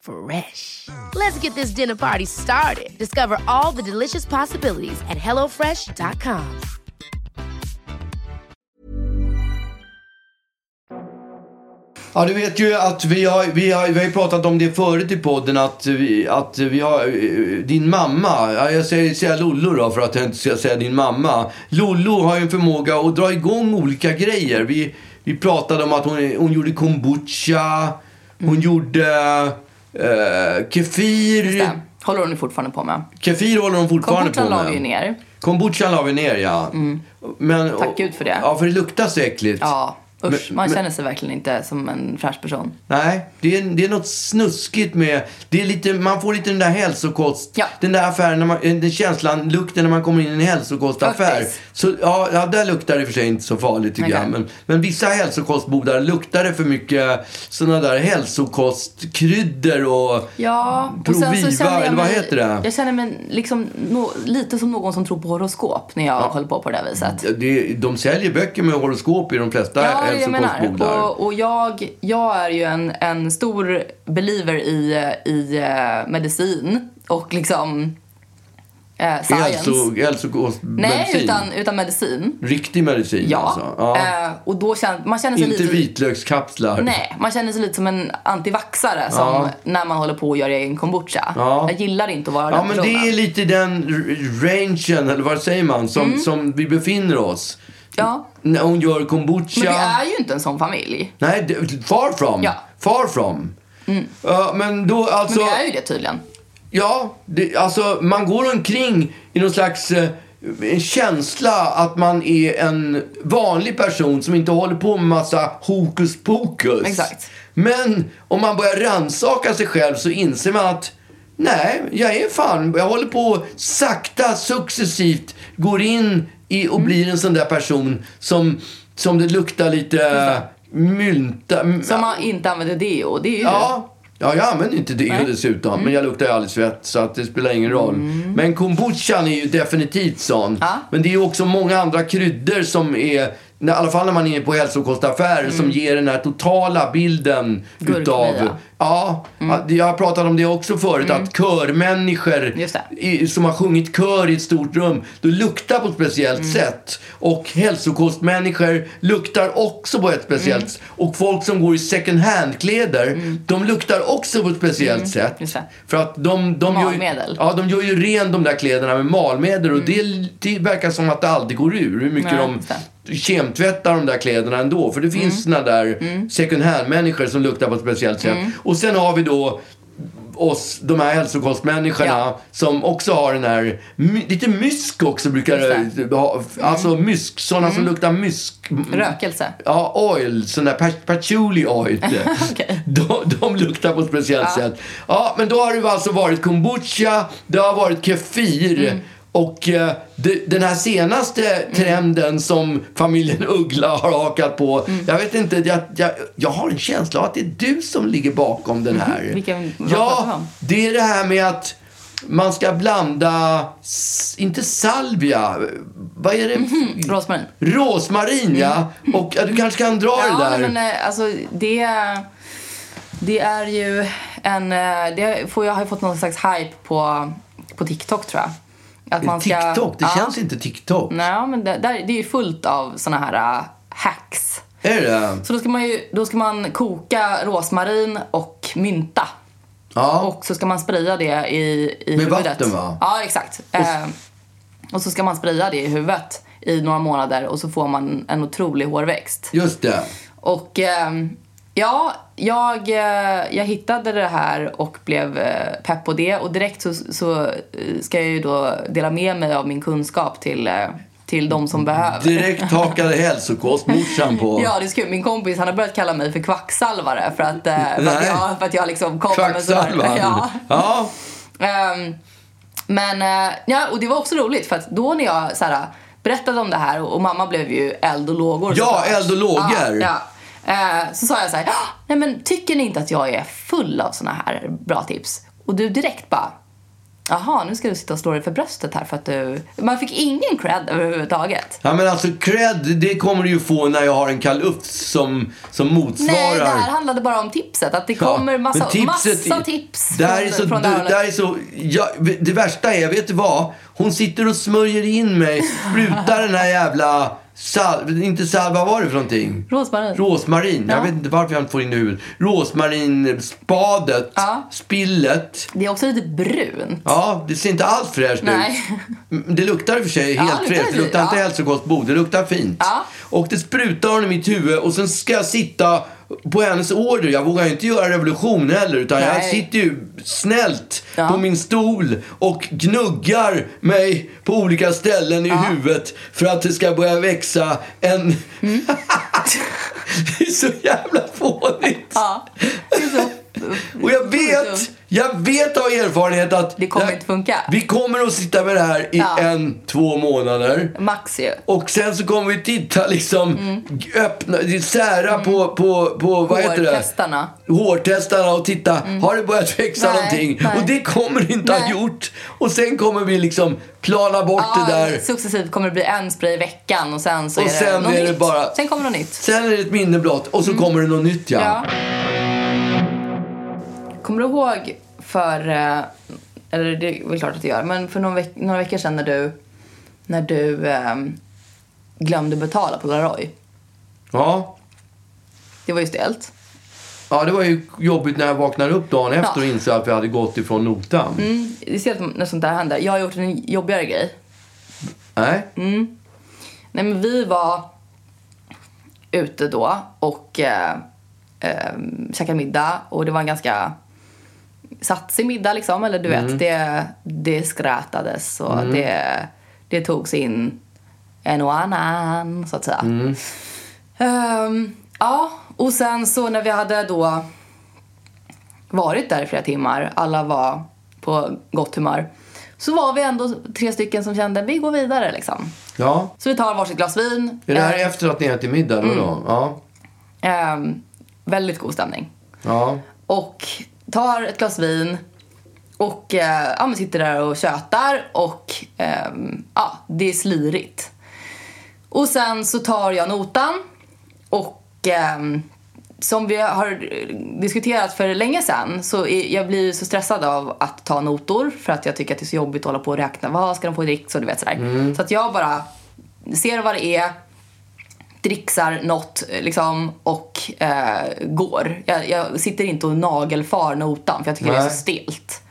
D: Fresh. Let's get this dinner party started. Discover all the delicious possibilities at hellofresh.com.
B: Ja, du vet ju att vi har, vi har, vi har ju pratat om det förut i podden att vi, att vi har eh, din mamma. Ja, jag säger, säger Lollo då för att jag inte ska säga din mamma. Lollo har ju en förmåga att dra igång olika grejer. Vi, vi pratade om att hon, hon gjorde kombucha. Hon
C: Mm.
B: gjorde eh, kefir.
C: Det håller hon ju fortfarande på med.
B: Kefir håller hon Mm. fortfarande
C: Kombucha
B: på med.
C: la vi ju ner. Mm.
B: Kombucha la vi ner, ja. Men,
C: Tack Gud för det.
B: Ja, för det luktar så äckligt.
C: Ja, usch.
B: Men-
C: man
B: men-
C: känner sig verkligen inte som en fräsch person.
B: Nej, det är, det är något snuskigt med... Det är lite, man får lite den där hälsokost...
C: Ja.
B: Den där affären, när man, eh, den känslan, lukten när man kommer in i en hälsokostaffär.
C: Faktiskt.
B: Så, ja, ja, där luktar det i och för sig inte så farligt tycker
C: Okej.
B: jag. Men, men vissa hälsokostbodar luktar det för mycket sådana där hälsokostkryddor och...
C: Ja,
B: Proviva, Mm. eller vad heter det?
C: Jag känner mig liksom nå- lite som någon som tror på horoskop när jag håller på på det där viset.
B: Det, de säljer böcker med horoskop i de flesta
C: Ja, det är det jag menar.
B: hälsokostbodar.
C: Och, och jag, jag är ju en, en stor believer i, i eh, medicin och liksom eh, science.
B: Hälso, alltså hälsokostmedicin.
C: Nej, utan, utan medicin.
B: Riktig medicin
C: Ja.
B: alltså. Ja.
C: Eh, och då känner man känner sig
B: inte
C: lite...
B: vitlökskapslar.
C: Nej, man känner sig lite som en antivaxare som
B: Ja.
C: när man håller på och gör egen kombucha.
B: Ja.
C: Jag gillar inte att vara
B: Ja,
C: den
B: men det
C: personen.
B: är lite den r- rangen, eller vad säger man, som, som vi befinner oss.
C: Mm. Ja.
B: När hon gör kombucha.
C: Men vi är ju inte en sån familj.
B: Nej, det- far from.
C: Ja. Mm.
B: Far from. Ja, men då
C: Men
B: alltså...
C: vi är ju det tydligen.
B: Ja, det, alltså man går omkring i någon slags eh, en känsla att man är en vanlig person som inte håller på med massa hokus pokus.
C: Exakt.
B: Men om man börjar rannsaka sig själv så inser man att nej, jag är fan, jag håller på och sakta, successivt går in i och blir en sån där person som, som det luktar lite mynta.
C: Som man inte använder deo. och Det är ju du.
B: Ja. Ja, jag använder inte det dessutom.
C: Mm.
B: Men jag luktar ju aldrig svett, så att det spelar ingen roll. Men kombuchan är ju definitivt sån.
C: Ja.
B: Men det är ju också många andra kryddor som är, när- i alla fall när man är inne på hälsokostaffärer,
C: Mm.
B: som ger den här totala bilden
C: Gurkmeja. Mm.
B: utav... Ja, ja, det- jag har pratat om det också förut, att körmänniskor
C: Just det.
B: i, som har sjungit kör i ett stort rum, då luktar på ett speciellt
C: Mm.
B: sätt. Och hälsokostmänniskor luktar också på ett
C: Mm.
B: speciellt sätt. Och folk som går i second hand-kläder, de luktar också på ett speciellt sätt.
C: Mm, just det.
B: För att de, de, gör ju,
C: Malmedel. Mm.
B: ja, de gör ju ren de där kläderna med malmedel och det, det verkar som att det aldrig går ur. Hur mycket
C: Nej, just Mm.
B: de kemtvättar de där kläderna ändå. För det finns såna där second hand-människor som luktar på ett speciellt sätt. Och sen har vi då oss, de här hälsokostmänniskorna
C: Ja.
B: som också har den här, my, lite mysk också brukar
C: Just Mm.
B: det ha. Alltså mysk, sådana som luktar mysk. m-
C: Rökelse.
B: Ja, oil, sån där pa- patchouli oil.
C: Okej.
B: de, de luktar på ett speciellt sätt. Ja, men då har det alltså varit kombucha, det har varit kefir.
C: Mm.
B: Och eh, de, den här senaste trenden som familjen Uggla har hakat på.
C: Mm.
B: Jag vet inte, jag, jag, jag har en känsla av att det är du som ligger bakom den här.
C: Vilken- vad pratar vi
B: ja,
C: om?
B: det är det här med att man ska blanda, s- inte salvia, vad är det?
C: Rosmarin.
B: Rosmarin, ja. Och ja, du kanske kan dra det
C: Mm. Ja,
B: där.
C: nej, men eh, alltså det... Det är ju en... eh, Det får, jag har ju fått någon slags hype på, på TikTok tror jag. Att
B: TikTok, det
C: ja.
B: känns inte TikTok.
C: Nej, men det, där, det är ju fullt av såna här eh, hacks.
B: Är det
C: Så då ska man ju då ska man koka rosmarin och mynta.
B: Ja.
C: Och så ska man spraya det i, i
B: Med
C: huvudet.
B: vatten, va?
C: Ja, exakt. Eh, och så ska man spraya det i huvudet i några månader och så får man en otrolig hårväxt.
B: Just det.
C: Och ehm, ja, jag, eh, jag hittade det här och blev eh, pepp på det. Och direkt så, så eh, ska jag ju då dela med mig av min kunskap till, eh, till de som behöver.
B: Direkt hakade hälsokostmorsan på.
C: Ja, det är så kul. Min kompis han har börjat kalla mig för kvacksalvare för att, eh, för att,
B: Nej.
C: jag, för att jag liksom kommer med
B: Kvacksalvaren.
C: sådär. Ja.
B: ja.
C: Ehm, men, eh, ja, och det var också roligt för att då när jag så här, berättade om det här och, och mamma blev ju eld och lågor.
B: Ja,
C: såklart.
B: eld och lågor.
C: Ja, ja. Eh, så sa jag så här, "Ah, nej men tycker ni inte att jag är full av såna här bra tips? Och du direkt bara, jaha nu ska du sitta och slå dig för bröstet här för att du... Man fick ingen cred överhuvudtaget.
B: Ja men alltså cred, det kommer du ju få när jag har en kalufs som, som motsvarar...
C: Nej, det här handlade bara om tipset. Att det
B: Ja,
C: kommer massa,
B: men tipset-
C: massa tips
B: Det här är
C: från-
B: så,
C: från
B: det,
C: det här hållet.
B: det här är så ja, det värsta är, vet du vad? Hon sitter och smörjer in mig, sprutar den här jävla sal, inte salva, vad var det för någonting?
C: Rosmarin.
B: Rosmarin. Jag
C: Ja.
B: vet inte varför jag inte får in det i huvudet. Rosmarinspadet,
C: Ja.
B: spillet.
C: Det är också lite brunt.
B: Ja, det ser inte alls fräscht
C: Nej.
B: ut. Det luktar i och för sig helt
C: det luktar
B: fräscht. Det
C: ju-
B: luktar inte
C: ja.
B: hälsokostbod, det luktar fint.
C: Ja.
B: Och det sprutar hon i mitt huvud och sen ska jag sitta på hennes order. Jag vågar ju inte göra revolution heller utan jag
C: Nej.
B: sitter ju snällt
C: Ja.
B: på min stol och gnuggar mig på olika ställen i huvudet för att det ska börja växa en...
C: Mm.
B: det är så jävla fånigt.
C: Ja. Det är så...
B: Och jag vet, jag vet av erfarenhet att
C: Det kommer inte funka.
B: Vi kommer att sitta med det här i
C: Ja.
B: en, två månader.
C: Max ju.
B: Och sen så kommer vi titta liksom,
C: Mm.
B: g- öppna, sära på, på, på, vad heter det?
C: Hårtestarna.
B: Hårtestarna och titta, har det börjat växa
C: Mm. Nej,
B: någonting?
C: nej.
B: Och det kommer det inte ha
C: Nej.
B: gjort. Och sen kommer vi liksom plana bort det där.
C: Successivt kommer det bli en spray i veckan och sen så
B: Och
C: är det
B: sen
C: något
B: är det
C: nytt.
B: bara-
C: Sen kommer något nytt.
B: Sen är det ett minne blott och så kommer det något nytt ja.
C: Mm. Ja. Kommer du ihåg för, eh, eller det är väl klart att du gör, men för någon veck, några veckor sedan när du, när du ehm, glömde betala på Laroy.
B: ja.
C: Det var ju stelt.
B: Ja, det var ju jobbigt när jag vaknade upp dagen efter
C: Ja.
B: och insåg att vi hade gått ifrån notan.
C: Mm, det är stelt när sånt där händer. Jag har gjort en jobbigare grej.
B: Nej?
C: Nej men vi var ute då och eh, eh, käkade middag och det var en ganska satsig middag liksom. Eller du vet, det, det skrattades och det, det togs in en och annan så att säga. Ehm, ja, och sen så när vi hade då varit där i flera timmar, alla var på gott humör. Så var vi ändå tre stycken som kände vi går vidare liksom.
B: Ja.
C: Så vi tar varsitt glas vin.
B: Är det här
C: Eh, Mm.
B: efter att ni ätit middag då? då? Ja.
C: ehm, väldigt god stämning.
B: Ja.
C: Och tar ett glas vin och eh, ja, men sitter där och tjötar och ehm, ja, det är slirigt. Och sen så tar jag notan och ehm, som vi har diskuterat för länge sedan så är, jag blir ju så stressad av att ta notor för att jag tycker att det är så jobbigt att hålla på och räkna. Vad ska de få i dricks och du vet sådär. Så att jag bara ser vad det är, dricksar något liksom, och eh, går. Jag, jag sitter inte och nagelfar notan för jag tycker det är
B: Nej.
C: så stelt.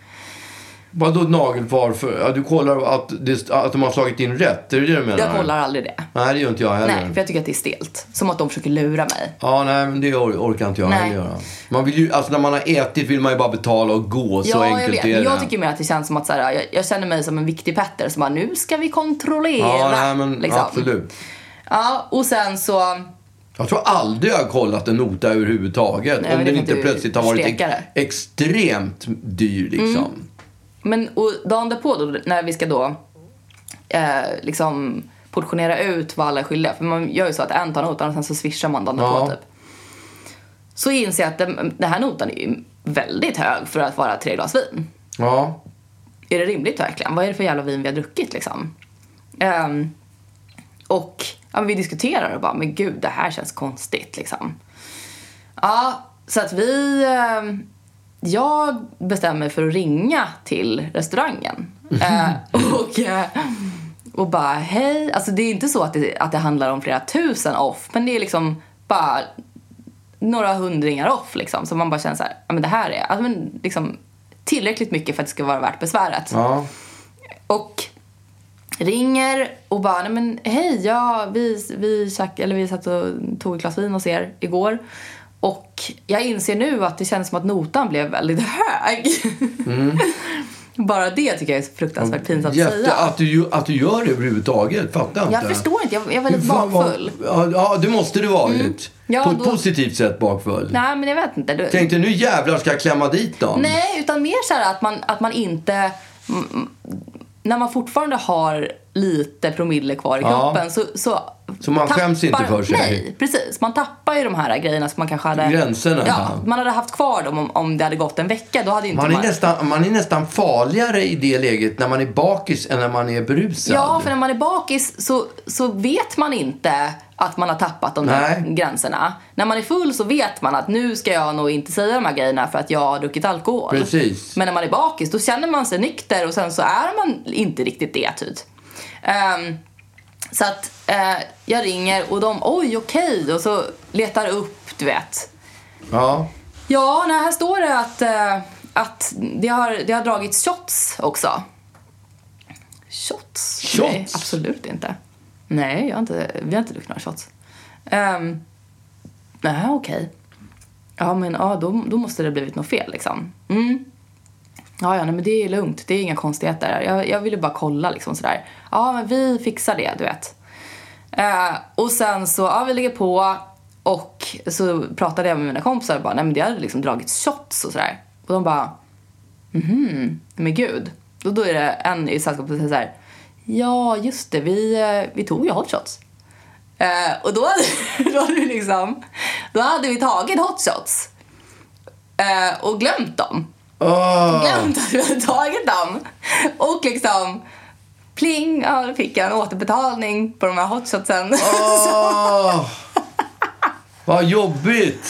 B: Vadå nagelfar? För, ja, du kollar att, det, att de har slagit in rätt? Är det det du menar?
C: Jag kollar aldrig det.
B: Nej, det gör inte jag heller.
C: Nej, för jag tycker att det är stelt. Som att de försöker lura mig.
B: Ja, nej, men det or- orkar inte jag
C: Nej.
B: heller göra. Man vill ju, alltså när man har ätit vill man ju bara betala och gå. så
C: ja,
B: enkelt
C: jag vet.
B: är
C: Men
B: det.
C: Jag tycker mer att det känns som att så här, jag, jag känner mig som en viktig Petter som bara, nu ska vi kontrollera.
B: Ja, nej, men
C: liksom.
B: absolut.
C: Ja, och sen så,
B: Jag tror aldrig jag har kollat en nota överhuvudtaget.
C: Nej,
B: om
C: men
B: den
C: det
B: inte
C: kan du
B: plötsligt har varit
C: steka det. Mm.
B: ex- extremt dyr liksom.
C: men och dagen därpå då, när vi ska då eh, liksom portionera ut vad alla är skyldiga. För man gör ju så att en tar notan och sen så swishar man dagen därpå
B: Ja.
C: typ. Så inser jag att den, den här notan är ju väldigt hög för att vara tre glas vin.
B: Ja.
C: är det rimligt verkligen? Vad är det för jävla vin vi har druckit liksom? Ehm, och ja, men vi diskuterar och bara, men gud det här känns konstigt liksom. Ja, så att vi... ehm, jag bestämmer mig för att ringa till restaurangen. Eh, och, eh, och bara, hej. Alltså det är inte så att det, att det handlar om flera tusen off, men det är liksom bara några hundringar off liksom. Så man bara känner så här, ja men det här är ja, men, liksom, tillräckligt mycket för att det ska vara värt besväret.
B: Ja.
C: Och ringer och bara, nej men hej, ja, vi, vi, käk, eller vi satt och tog ett glas vin hos er igår. Och jag inser nu att det kändes som att notan blev väldigt hög. Bara det tycker jag är så fruktansvärt pinsamt att
B: Jätte,
C: säga.
B: att, du, ju- att du gör det överhuvudtaget, fattar inte.
C: Jag förstår inte, jag, jag är väldigt
B: Hur fan var-
C: bakfull. Mm.
B: Ja, ja, det måste det varit.
C: Ja,
B: På ett
C: då-
B: positivt sätt bakfull.
C: Nej men jag vet inte. Du,
B: Tänkte nu jävlar ska jag klämma dit dem.
C: Nej, utan mer så här att man, att man inte... mm, mm, När man fortfarande har lite promille kvar i
B: Ja.
C: kroppen så... Så,
B: Så man skäms inte för sig.
C: Nej, precis. Man tappar ju de här grejerna som man kanske hade...
B: Gränserna.
C: Ja, man hade haft kvar dem om, om det hade gått en vecka. Då hade inte
B: Man är, nästan, man är nästan farligare i det läget när man är bakis än när man är berusad.
C: Ja, för när man är bakis så, så vet man inte att man har tappat de där
B: Nej.
C: gränserna. När man är full så vet man att nu ska jag nog inte säga de här grejerna för att jag har druckit alkohol.
B: Precis.
C: Men när man är bakis då känner man sig nykter och sen så är man inte riktigt det typ. Ehm, så att eh, jag ringer och de, oj okej, och så letar upp du vet
B: Ja.
C: Ja, nej, här står det att, eh, att det, har, det har dragits shots också. Shots? Nej,
B: Shots?
C: absolut inte. Nej, jag har inte, vi har inte druckit några shots. Um, nej, okej. Ja, men ja, då, då måste det ha blivit något fel liksom. Mm. Ja, ja, nej, men det är lugnt. Det är inga konstigheter. Jag, jag ville bara kolla liksom sådär. Ja, men vi fixar det, du vet. Eh, och sen så, ja vi lägger på och så pratade jag med mina kompisar och bara, nej men det hade liksom dragit shots och sådär. Och de bara, mhm, men gud. Och då är det en i sällskapet som säger såhär, ja just det, vi, eh, vi tog ju hot shots. Eh, och då hade, då hade vi liksom, då hade vi tagit hot shots. Eh, och glömt dem.
B: Åh.
C: Glömt att vi hade tagit dem. Och liksom, pling, ja då fick jag en återbetalning på de här hotshotsen.
B: Åh. Vad jobbigt!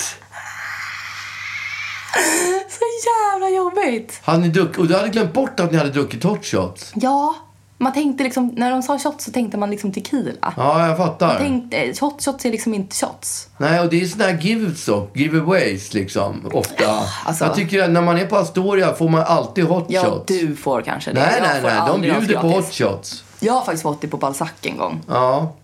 C: Så jävla jobbigt!
B: Hade ni druck- och du hade glömt bort att ni hade druckit hot shots?
C: Ja, man tänkte liksom, när de sa shots så tänkte man liksom tequila.
B: Ja, jag fattar.
C: Tänkte, shot, shots är liksom inte shots.
B: Nej, och det är sådana här gives och giveaways liksom, ofta.
C: alltså.
B: Jag tycker att när man är på Astoria får man alltid hot
C: Ja,
B: shots.
C: du får kanske det.
B: Nej,
C: Jag
B: nej,
C: får
B: nej. De
C: aldrig något
B: bjuder på
C: gratis.
B: hot shots.
C: Jag har faktiskt fått det på Balzac en gång.
B: Ja,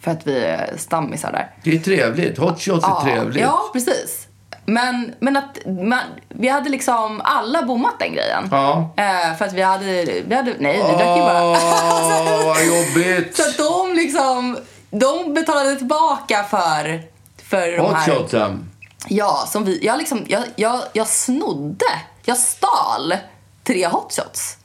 C: För att vi är stammisar där.
B: det är trevligt. Hot shots är trevligt.
C: Ja, precis. Men, men att man, vi hade liksom alla bommat den grejen.
B: Ja.
C: Eh, för att vi hade, vi hade nej vi drack ju bara.
B: Åh, vad jobbigt!
C: Så att de liksom, de betalade tillbaka för, för de
B: Hot
C: här.
B: shotsen.
C: Ja, som vi, jag, liksom, jag, jag, jag snodde, jag stal tre hotshots.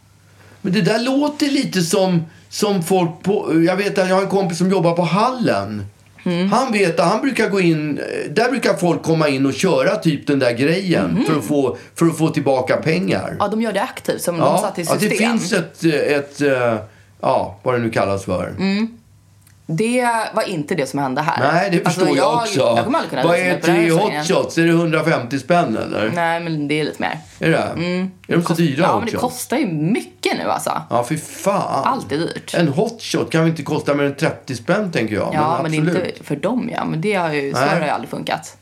B: Men det där låter lite som, som folk på... Jag vet att jag har en kompis som jobbar på Hallen.
C: Mm.
B: Han vet att han brukar gå in... Där brukar folk komma in och köra typ den där grejen
C: Mm.
B: för, att få, för att få tillbaka pengar.
C: Ja, de gör det aktivt som de satt i
B: att
C: system.
B: det finns ett, ett... eh, Ja, vad det nu kallas för.
C: Mm. Det var inte det som hände här.
B: Nej, det förstår
C: Alltså,
B: jag, också.
C: Jag kommer aldrig kunna
B: vad
C: lyssna
B: är
C: på det här
B: tre
C: sången.
B: hot shots? Är det 150 spänn eller?
C: Nej, men det är lite mer.
B: Är det? Är de så dyra
C: Ja, men
B: hot
C: det
B: shots?
C: kostar ju mycket nu alltså.
B: Ja, fy fan.
C: Allt är dyrt.
B: En hot shot kan väl inte kosta mer än 30 spänn tänker jag.
C: Ja, men,
B: men absolut.
C: inte för dem ja. Men det har ju, så
B: Nej.
C: har det ju aldrig funkat.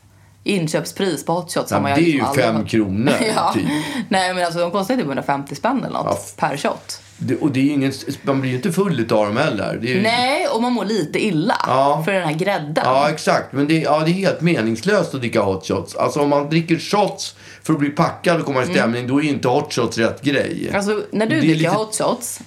C: Inköpspris på hotshots
B: Ja,
C: har man
B: det är
C: liksom
B: ju
C: aldrig
B: fem
C: hört.
B: kronor,
C: ja.
B: typ.
C: Nej, men alltså de kostar ju typ 150 spänn eller något per shot.
B: Det, och det är ju ingen, man blir ju inte full utav dem heller. Det är ju,
C: Nej, och man mår lite illa
B: Mm. Ja.
C: för den här grädden.
B: Ja, exakt. Men det, ja, det är helt meningslöst att dricka hot shots. Alltså om man dricker shots för att bli packad och komma i stämning, då är ju inte hot shots rätt grej.
C: Mm. Alltså, när du
B: Det är
C: dricker
B: lite-
C: hotshots,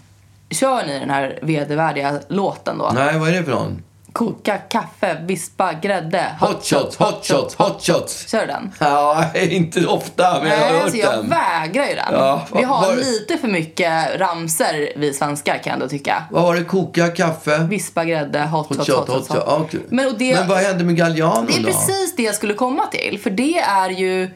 C: kör ni den här vedervärdiga låten då?
B: Nej, vad är det för någon?
C: Koka kaffe, vispa grädde.
B: Hot shots, hot shots, hot shots.
C: Kör den.
B: Ja, inte ofta, men jag har
C: Nej,
B: hört
C: alltså jag
B: den.
C: vägrar ju den.
B: Ja,
C: vi har
B: var-
C: lite för mycket ramser vi svenskar kan jag ändå tycka.
B: Vad var det? Koka kaffe?
C: Vispa grädde, hot,
B: Hot shot, hot shot. Ja, okej.
C: Men, och det,
B: men vad hände med Galliano
C: det är
B: då?
C: precis det jag skulle komma till. För det är ju, eh,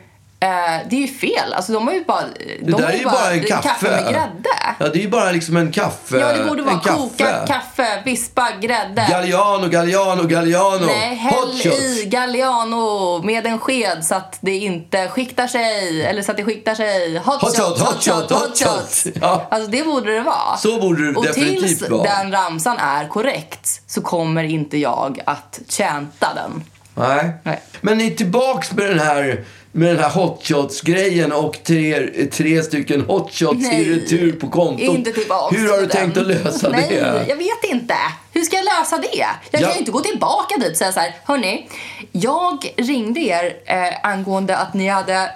C: det är ju fel. Alltså de har ju bara...
B: Det
C: de
B: där
C: har
B: är ju bara en kaffe.
C: med grädde.
B: Ja, det är ju bara liksom en kaffe.
C: Ja, det borde vara
B: en kaffe.
C: koka kaffe, vispa grädde.
B: Galliano, Galliano, Galliano.
C: Nej,
B: hot
C: häll
B: shots.
C: i Galliano med en sked så att det inte skiktar sig. Eller så att det skiktar sig. Hot,
B: Hot shot, hot shot, hot shot. Ja.
C: Alltså det borde det vara.
B: Så borde det
C: Och
B: definitivt
C: tills
B: vara.
C: den ramsan är korrekt så kommer inte jag att chanta den.
B: Nej.
C: Nej.
B: Men ni är tillbaks med den här, med den här hotshots-grejen och tre, tre stycken hotshots
C: Nej.
B: i retur på kontot.
C: Inte tillbaks
B: Hur har du
C: till den.
B: tänkt att lösa
C: Nej,
B: det?
C: jag vet inte. Hur ska jag lösa det? Jag
B: Ja.
C: kan ju inte gå tillbaka dit och säga så här, hörni, jag ringde er eh, angående att ni hade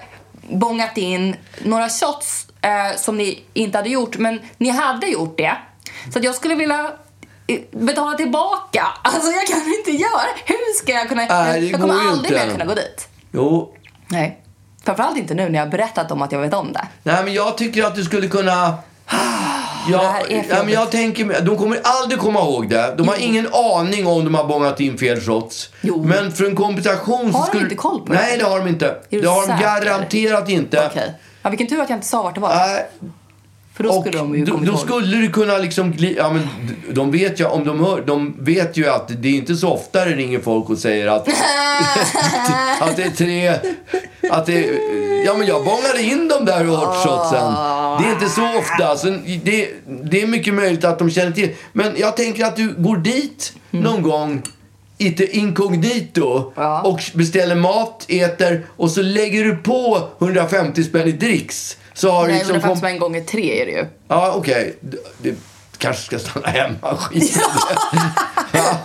C: bångat in några shots eh, som ni inte hade gjort, men ni hade gjort det. Så att jag skulle vilja eh, betala tillbaka. Alltså jag kan inte göra Hur ska jag kunna?
B: Nej, det
C: jag kommer
B: går ju
C: aldrig
B: inte.
C: mer kunna gå dit.
B: Jo.
C: Nej. Framförallt inte nu när jag har berättat om att jag vet om det.
B: Nej, men jag tycker att du skulle kunna...
C: Ah, Det
B: Ja,
C: här är för
B: nej, men jag
C: jobbigt.
B: tänker, mig- de kommer aldrig komma ihåg det. De har ingen aning om de har bångat in fel shots.
C: Jo.
B: Men för en kompensation så
C: Har de
B: skulle...
C: inte koll på det?
B: Nej, det har de inte.
C: du
B: det har de
C: säker?
B: garanterat inte.
C: Okej. Ja, vilken tur att jag inte sa vart det var.
B: Nej,
C: För då
B: Och
C: skulle de ju
B: då,
C: kommit
B: då
C: ihåg.
B: skulle du kunna liksom... gli- Ja, men d- de vet ju, om de hör, de vet ju att det är inte så ofta det ringer folk och säger att... att det är tre... Att det, ja, men jag bångade in de där hotshotsen.
C: Ah.
B: Det är inte så ofta. Så det, det är mycket möjligt att de känner till. Men jag tänker att du går dit någon gång lite inkognito
C: Mm. Ja.
B: och beställer mat, äter och så lägger du på 150 spänn i dricks. Så har du
C: Nej,
B: liksom
C: men det
B: kom-
C: fanns en gånger tre är det ju.
B: Ja, okej. Du- Du kanske ska stanna hemma. Skit i det. ja.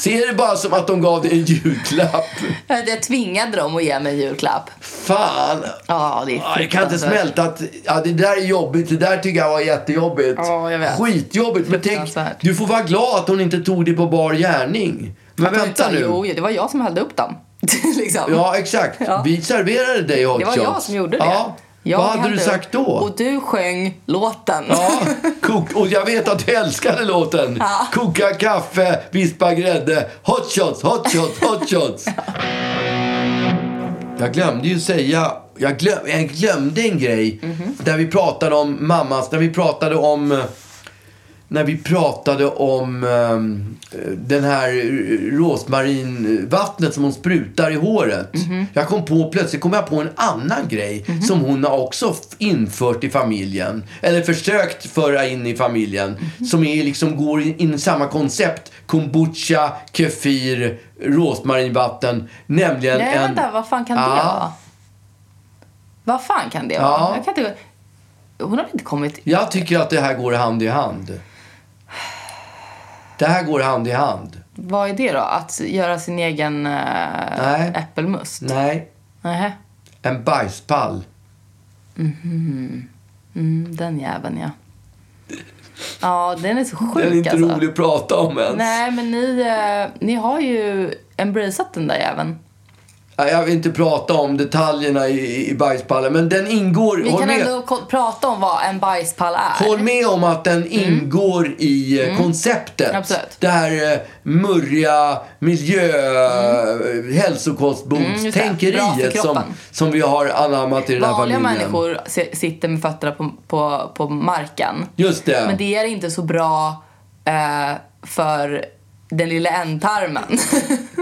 B: Ser det bara som att de gav dig en julklapp.
C: Jag tvingade dem att ge mig en julklapp.
B: Fan.
C: Ja, det är
B: Ja, jag kan inte
C: fruktansvärt.
B: smälta att ja, det där är jobbigt. Det där tycker jag var jättejobbigt.
C: Ja, jag vet.
B: Skitjobbigt. Men tänk,
C: Fruktansvärt.
B: du får vara glad att hon inte tog det på bar gärning. Men
C: Att de
B: vänta
C: sa,
B: nu.
C: Jo, jo, det var jag som hällde upp dem. liksom.
B: Ja, exakt.
C: Ja.
B: Vi serverade dig hot
C: det var jag
B: shots.
C: som gjorde det.
B: Ja.
C: Jag
B: Vad hade
C: hällde
B: du
C: upp
B: sagt då?
C: Och du sjöng låten.
B: Ja, kok, och jag vet att du älskade låten.
C: Ja.
B: Koka kaffe, vispa grädde, hot shots, hot shots, hot shots. Jag glömde ju säga, jag, glöm, jag glömde en grej. Där vi pratade om mammas, när vi pratade om eh, när vi pratade om ehm, den här rosmarinvattnet som hon sprutar i håret.
C: Mhm.
B: Jag kom på, plötsligt kom jag på en annan grej som hon har också f- infört i familjen. Eller försökt föra in i familjen.
C: Mhm.
B: Som är liksom går in, in i samma koncept. Kombucha, kefir, rosmarinvatten. Nämligen
C: Nej,
B: en...
C: vänta, vad fan kan det
B: Ja.
C: vara? Vad fan kan det
B: Ja.
C: vara? Jag kan inte... Hon har väl inte kommit...
B: Jag tycker att det här går hand i hand. Det här går hand i hand.
C: Vad är det då? Att göra sin egen äh,
B: Nej.
C: äppelmust?
B: Nej,
C: Nej.
B: en bajspall.
C: Mm, den jäveln, ja. Ja, den är så sjuk
B: Den är inte
C: alltså.
B: rolig att prata om ens.
C: Nej, men ni, eh, ni har ju embraceat den där jäveln.
B: Nej, Jag vill inte prata om detaljerna i, i bajspallen, men den ingår...
C: Vi
B: håll,
C: kan
B: med,
C: ändå ko- prata om vad en bajspall är.
B: håll med om att den ingår i eh, konceptet.
C: Mm. Absolut.
B: Det här eh, murriga miljö... Mm.
C: Mm, just det. Bra för
B: hälsokostbordstänkeriet som,
C: kroppen.
B: som vi har anammat i den här
C: Vanliga
B: familjen.
C: människor se- sitter med fötterna på, på, på marken.
B: Just det.
C: Men det är inte så bra eh, för den lilla ändtarmen.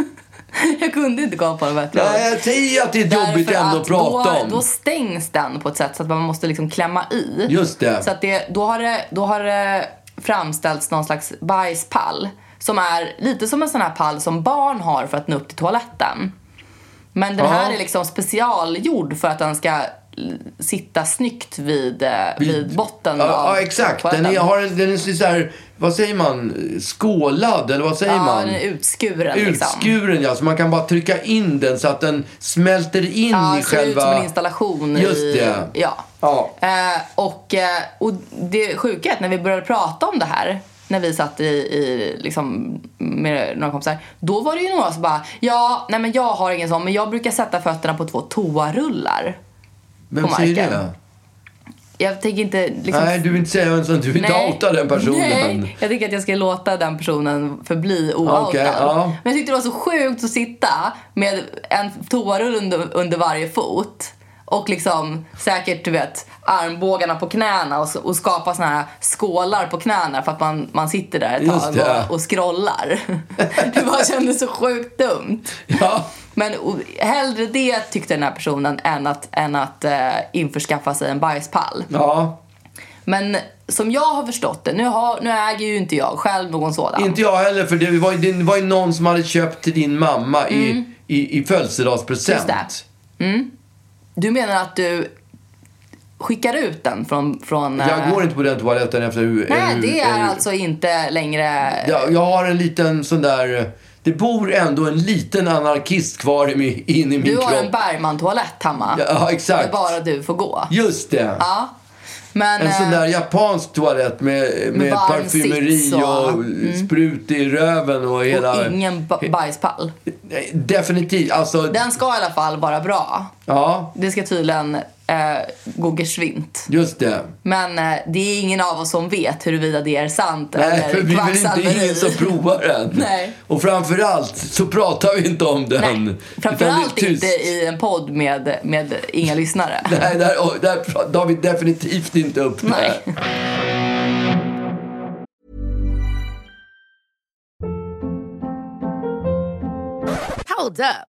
C: jag kunde inte komma på det bättre.
B: Nej, jag säger ju att det är ett
C: Därför
B: jobbigt ämne att prata
C: då,
B: om.
C: Då stängs den på ett sätt så att man måste liksom klämma i.
B: Just det.
C: Så att det, då, har det, då har det framställts någon slags bajspall. Som är lite som en sån här pall som barn har för att nå upp till toaletten. Men den
B: Ja.
C: här är liksom specialgjord för att den ska l- sitta snyggt vid, eh, vid botten
B: Ja,
C: av
B: ja exakt. Den
C: toaletten.
B: är, har en, den är så här, vad säger man, skålad eller vad säger
C: ja,
B: man?
C: den är utskuren liksom.
B: Utskuren ja, så man kan bara trycka in den så att den smälter in
C: Ja,
B: i
C: det ser ut
B: själva...
C: som en installation.
B: Just det.
C: I, ja.
B: Ja.
C: Eh, och, eh, och det sjuka är att när vi började prata om det här, när vi satt i, i liksom, med några kompisar, då var det ju några som bara, ja, nej men jag har ingen sån, men jag brukar sätta fötterna på två toarullar.
B: Vem
C: på
B: säger
C: marken.
B: det?
C: Jag tänker inte liksom...
B: Nej, du vill inte säga vem som... Du vill inte
C: Nej.
B: outa den personen.
C: Nej, jag tycker att jag ska låta den personen förbli ooutad.
B: Okej, ja.
C: Men jag tyckte det var så sjukt att sitta med en toarull under, under varje fot och liksom säkert du vet armbågarna på knäna och, s- och skapa såna här skålar på knäna för att man, man sitter där ett
B: Just
C: tag
B: det.
C: och, och scrollar. det bara kändes så sjukt dumt.
B: Ja.
C: Men och, hellre det tyckte den här personen än att, än att eh, införskaffa sig en bajspall.
B: Ja.
C: Men som jag har förstått det, nu, har, nu äger ju inte jag själv någon sådan.
B: Inte jag heller, för det var, ju, det var ju någon som hade köpt till din mamma i, i, i födelsedagspresent.
C: Mm. Just Du menar att du skickar ut den från... från
B: Jag
C: eh,
B: går inte på den toaletten efter hur...
C: Nej,
B: hur-
C: det är
B: hur-
C: alltså inte längre...
B: jag, jag har en liten sån där... Det bor ändå en liten anarkist kvar i min, in i min
C: Du
B: kropp.
C: har en Bergman-toalett hemma.
B: Ja,
C: Där
B: exakt.
C: bara du får gå.
B: Just det.
C: Ja. Men,
B: En sån
C: eh,
B: där japansk toalett med, med
C: varm
B: parfymeri
C: sits och- mm.
B: och sprut i röven och hela...
C: eh, och ingen ba- bajspall.
B: Nej, Definitivt. Alltså,
C: Den ska i alla fall vara bra.
B: ja,
C: Det ska tydligen eh, gå geschwint.
B: just det.
C: Men eh, det är ingen av oss som vet huruvida det är sant
B: Nej, för vi
C: eller
B: vill inte, det är ingen som provar den.
C: Nej.
B: Och framförallt så pratar vi inte om den.
C: Nej,
B: Utan det är
C: Framförallt
B: tyst.
C: inte i en podd med, med inga lyssnare.
B: Nej, där, och där pra- tar vi definitivt inte upp
C: Nej.
B: det.
D: Hold up.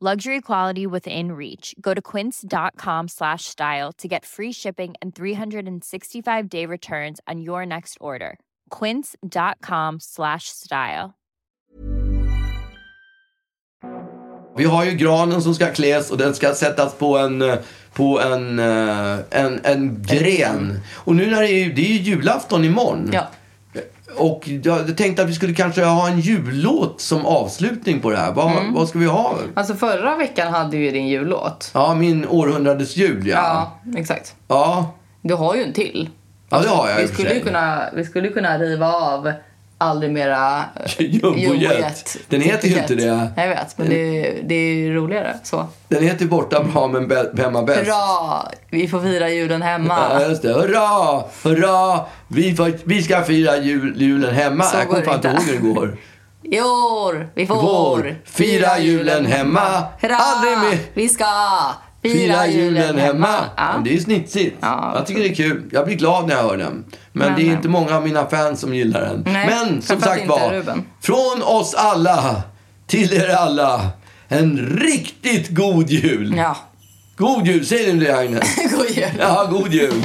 E: Luxury quality within reach. Go to quince.com slash style to get free shipping and 365 day returns on your next order. Quince.com slash style.
B: Vi har ju granen som ska kläs och den ska sättas på en, eh, på en, eh, en, en gren. Och nu när det är, det är ju julafton imorgon.
C: Ja.
B: Och jag tänkte att vi skulle kanske ha en jullåt som avslutning på det här. Vad,
C: Mm.
B: vad ska vi ha?
C: Alltså förra veckan hade ju din jullåt.
B: Ja, min århundradets jul, ja.
C: Ja, exakt.
B: Ja,
C: Du har ju en till.
B: ja det har jag i
C: Vi
B: och för
C: skulle, ju
B: sig.
C: kunna, vi skulle ju kunna riva av Aldrig mera eh,
B: Jumbojet. Den heter ju inte det.
C: Jag vet, men det är, det är ju roligare så.
B: Den heter ju Borta bra men bä- hemma bäst.
C: Bra! Vi får fira julen hemma.
B: Ja, just det. Hurra, hurra! Vi, får, vi ska fira jul, julen hemma.
C: Så
B: jag kommer
C: går
B: fan
C: det
B: inte ihåg
C: inte.
B: hur det går.
C: I år, vi får
B: Vår. Fira julen hemma.
C: Hurra!
B: Aldrig mer.
C: Vi ska fira,
B: Fira julen hemma.
C: Ja.
B: Men Det är ju snitsigt.
C: Ja,
B: jag tycker det är kul. Jag blir glad när jag hör den. Men, det är inte många av mina fans som gillar den.
C: Nej,
B: Men som
C: framförallt
B: sagt
C: inte
B: var,
C: Ruben.
B: från oss alla till er alla. En riktigt god jul!
C: ja.
B: God jul! Säger ni det, Agnes?
C: God jul.
B: Ja, god jul!